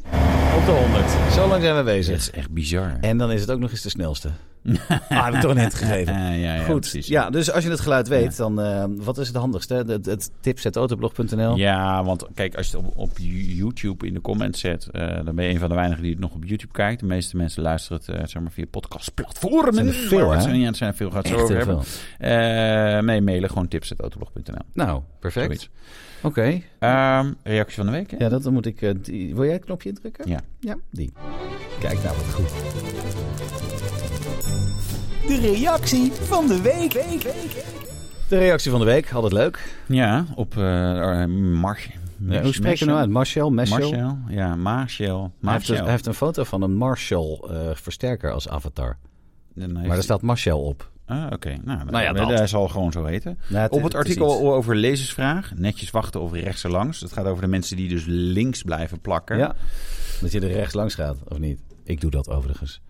S1: op de 100. Zo lang zijn we
S2: Dat
S1: bezig.
S2: is echt bizar.
S1: Eh, En dan is het ook nog eens de snelste. [laughs] Ah, heb ik toch een hint [laughs] gegeven.
S2: Ja, ja, ja,
S1: Goed.
S2: precies.
S1: Ja, dus als je het geluid weet, dan eh, wat is het handigste? Het, het tips.autoblog.nl.
S2: Ja, want kijk, als je het op, op YouTube in de comments zet, eh, dan ben je een van de weinigen die het nog op YouTube kijkt. De meeste mensen luisteren het eh, zeg maar via podcastplatformen.
S1: Zijn er veel,
S2: Maar het
S1: hè?
S2: zijn- Ja, het zijn er veel. Gaat het zo
S1: Echt
S2: over
S1: heel
S2: hebben.
S1: veel.
S2: Eh, nee, mailen gewoon tips.autoblog.nl.
S1: Nou, perfect.
S2: Zoiets.
S1: Oké.
S2: Ehm, reactie van de week, hè?
S1: Ja, dat dan moet ik. eh, die- wil jij het knopje indrukken?
S2: Ja.
S1: Ja, die. Kijk nou, wat goed. De reactie van de week. De reactie van de week, altijd leuk.
S2: Ja, op eh Mar...
S1: Ja, hoe spreek je nou uit? Marshall? Marshall?
S2: Marcel? Ja, Marcel.
S1: Hij, heeft, dus-
S2: Marcel.
S1: hij heeft een foto van een Marshall-versterker als avatar.
S2: Dan heeft
S1: Maar
S2: hij-
S1: daar staat Marshall op.
S2: Ah, oké. Nou,
S1: Nou ja,
S2: dat,
S1: dat.
S2: zal gewoon zo heten.
S1: Nou, het-
S2: Op
S1: het
S2: het
S1: is
S2: artikel
S1: iets.
S2: over lezersvraag, netjes wachten of rechts erlangs. Dat gaat over de mensen die dus links blijven plakken.
S1: Ja. Dat je er rechts langs gaat, of niet? Ik doe dat overigens.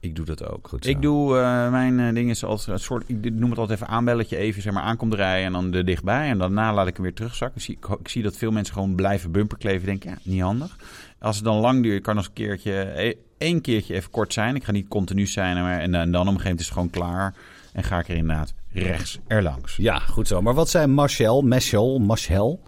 S2: Ik doe dat ook.
S1: Goed zo.
S2: ik doe eh, mijn eh, ding is als een soort, ik noem het altijd even aanbelletje, even zeg maar aankomt rijden en dan er dichtbij. En daarna laat ik hem weer terugzakken. Ik zie, ik, ho- ik zie dat veel mensen gewoon blijven bumperkleven. Ik Denk, ja, niet handig. Als het dan lang duurt, kan als een keertje, eh, één keertje even kort zijn. Ik ga niet continu zijn, maar en, dan- en dan op een gegeven moment is het gewoon klaar. En ga ik er inderdaad rechts erlangs.
S1: Ja, goed zo. Maar wat zijn Marshall, Marshall, Marshall?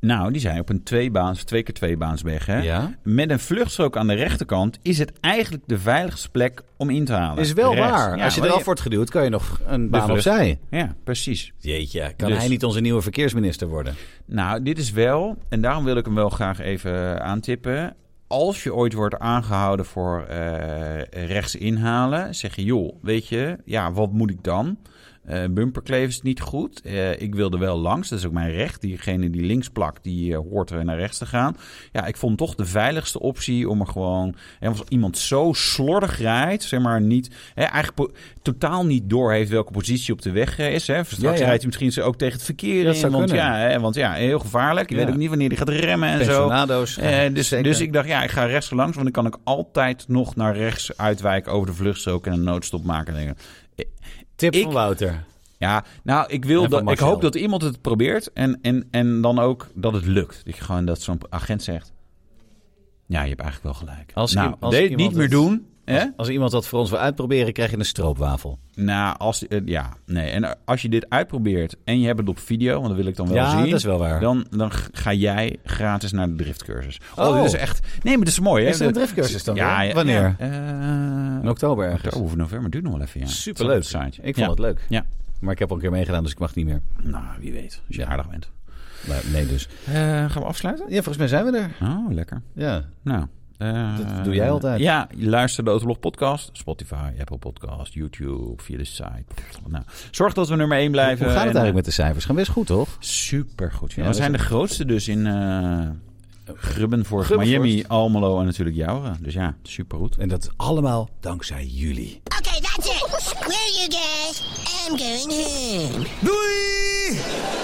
S2: Nou, die zijn op een tweebaans, twee keer tweebaansweg. Hè?
S1: Ja.
S2: Met een vluchtstrook aan de rechterkant is het eigenlijk de veiligste plek om in te halen.
S1: Is wel
S2: Rechts.
S1: waar.
S2: Ja,
S1: Als je
S2: maar
S1: eraf wordt geduwd, kan je nog een
S2: de
S1: baan
S2: vlucht-
S1: opzij.
S2: Ja, precies.
S1: Jeetje, kan
S2: Dus-
S1: hij niet onze nieuwe verkeersminister worden?
S2: Nou, dit is wel, en daarom wil ik hem wel graag even eh, aantippen. Als je ooit wordt aangehouden voor eh, rechts inhalen, zeg je, joh, weet je, ja, wat moet ik dan? Eh bumperkleven is niet goed. Eh, ik wilde wel langs, dat is ook mijn recht. Diegene die links plakt, die eh, hoort er naar rechts te gaan. Ja, ik vond toch de veiligste optie om er gewoon... En als iemand zo slordig rijdt, zeg maar niet... Hè, eigenlijk po- totaal niet door heeft welke positie op de weg eh, is. Hè. Straks
S1: Ja, ja.
S2: rijdt hij misschien ook tegen het verkeer
S1: Dat
S2: in,
S1: zou
S2: want
S1: kunnen.
S2: ja, hè, Eh, want ja, heel gevaarlijk. Je
S1: Ja.
S2: weet ook niet wanneer die gaat remmen en zo.
S1: Pensionado's.
S2: Eh, dus,
S1: Zeker.
S2: dus ik dacht, ja, ik ga rechts langs, want dan kan ik altijd nog naar rechts uitwijken over de vluchtstrook en een noodstop maken. en dingen.
S1: Tip
S2: ik-
S1: van Wouter.
S2: Ja, nou, ik, wil
S1: En van
S2: dat, ik
S1: Marcel.
S2: hoop dat iemand het probeert en, en, en dan ook dat het lukt. Dat je gewoon dat zo'n agent zegt, ja, je hebt eigenlijk wel gelijk.
S1: Als
S2: nou,
S1: i- als
S2: de-
S1: iemand
S2: niet meer
S1: het-
S2: doen. Hè?
S1: Als iemand dat voor ons wil uitproberen, krijg je een stroopwafel.
S2: Nou, als, eh, ja, nee. En eh, als je dit uitprobeert en je hebt het op video, want dat wil ik dan wel
S1: Ja,
S2: zien.
S1: dat is wel waar.
S2: Dan, dan g- ga jij gratis naar de driftcursus. Oh,
S1: Oh.
S2: dit is echt... Nee, maar dat is mooi, hè?
S1: Is er een
S2: De-
S1: driftcursus dan
S2: Ja,
S1: weer?
S2: ja,
S1: Wanneer?
S2: ja.
S1: In
S2: Eh,
S1: oktober ergens.
S2: oktober of november. Duurt nog wel even, ja.
S1: Superleuk.
S2: Het staat op het site.
S1: Ik vond
S2: Ja.
S1: het leuk.
S2: Ja.
S1: Maar ik heb al een keer meegedaan, dus ik mag niet meer.
S2: Nou, wie weet. Als je aardig bent.
S1: Maar nee dus.
S2: Eh, gaan we afsluiten?
S1: Ja, volgens mij zijn we er.
S2: Oh, lekker.
S1: Ja.
S2: Nou. eh,
S1: Dat doe jij altijd.
S2: Ja, luister de Autoblog podcast. Spotify, Apple podcast, YouTube, via de site. Nou, zorg dat we nummer 1
S1: Hoe
S2: blijven.
S1: gaat het
S2: En,
S1: eigenlijk met de cijfers? Gaan best goed, toch?
S2: Super goed.
S1: Ja,
S2: we
S1: dat
S2: zijn
S1: is-
S2: de grootste dus in eh Grubbenvoort,
S1: Grubbenvoort.
S2: Miami, Almelo en natuurlijk Jouren. Dus ja, super goed.
S1: En dat allemaal dankzij jullie.
S4: Okay, that's it. Screw you guys. I'm going home.
S3: Doei!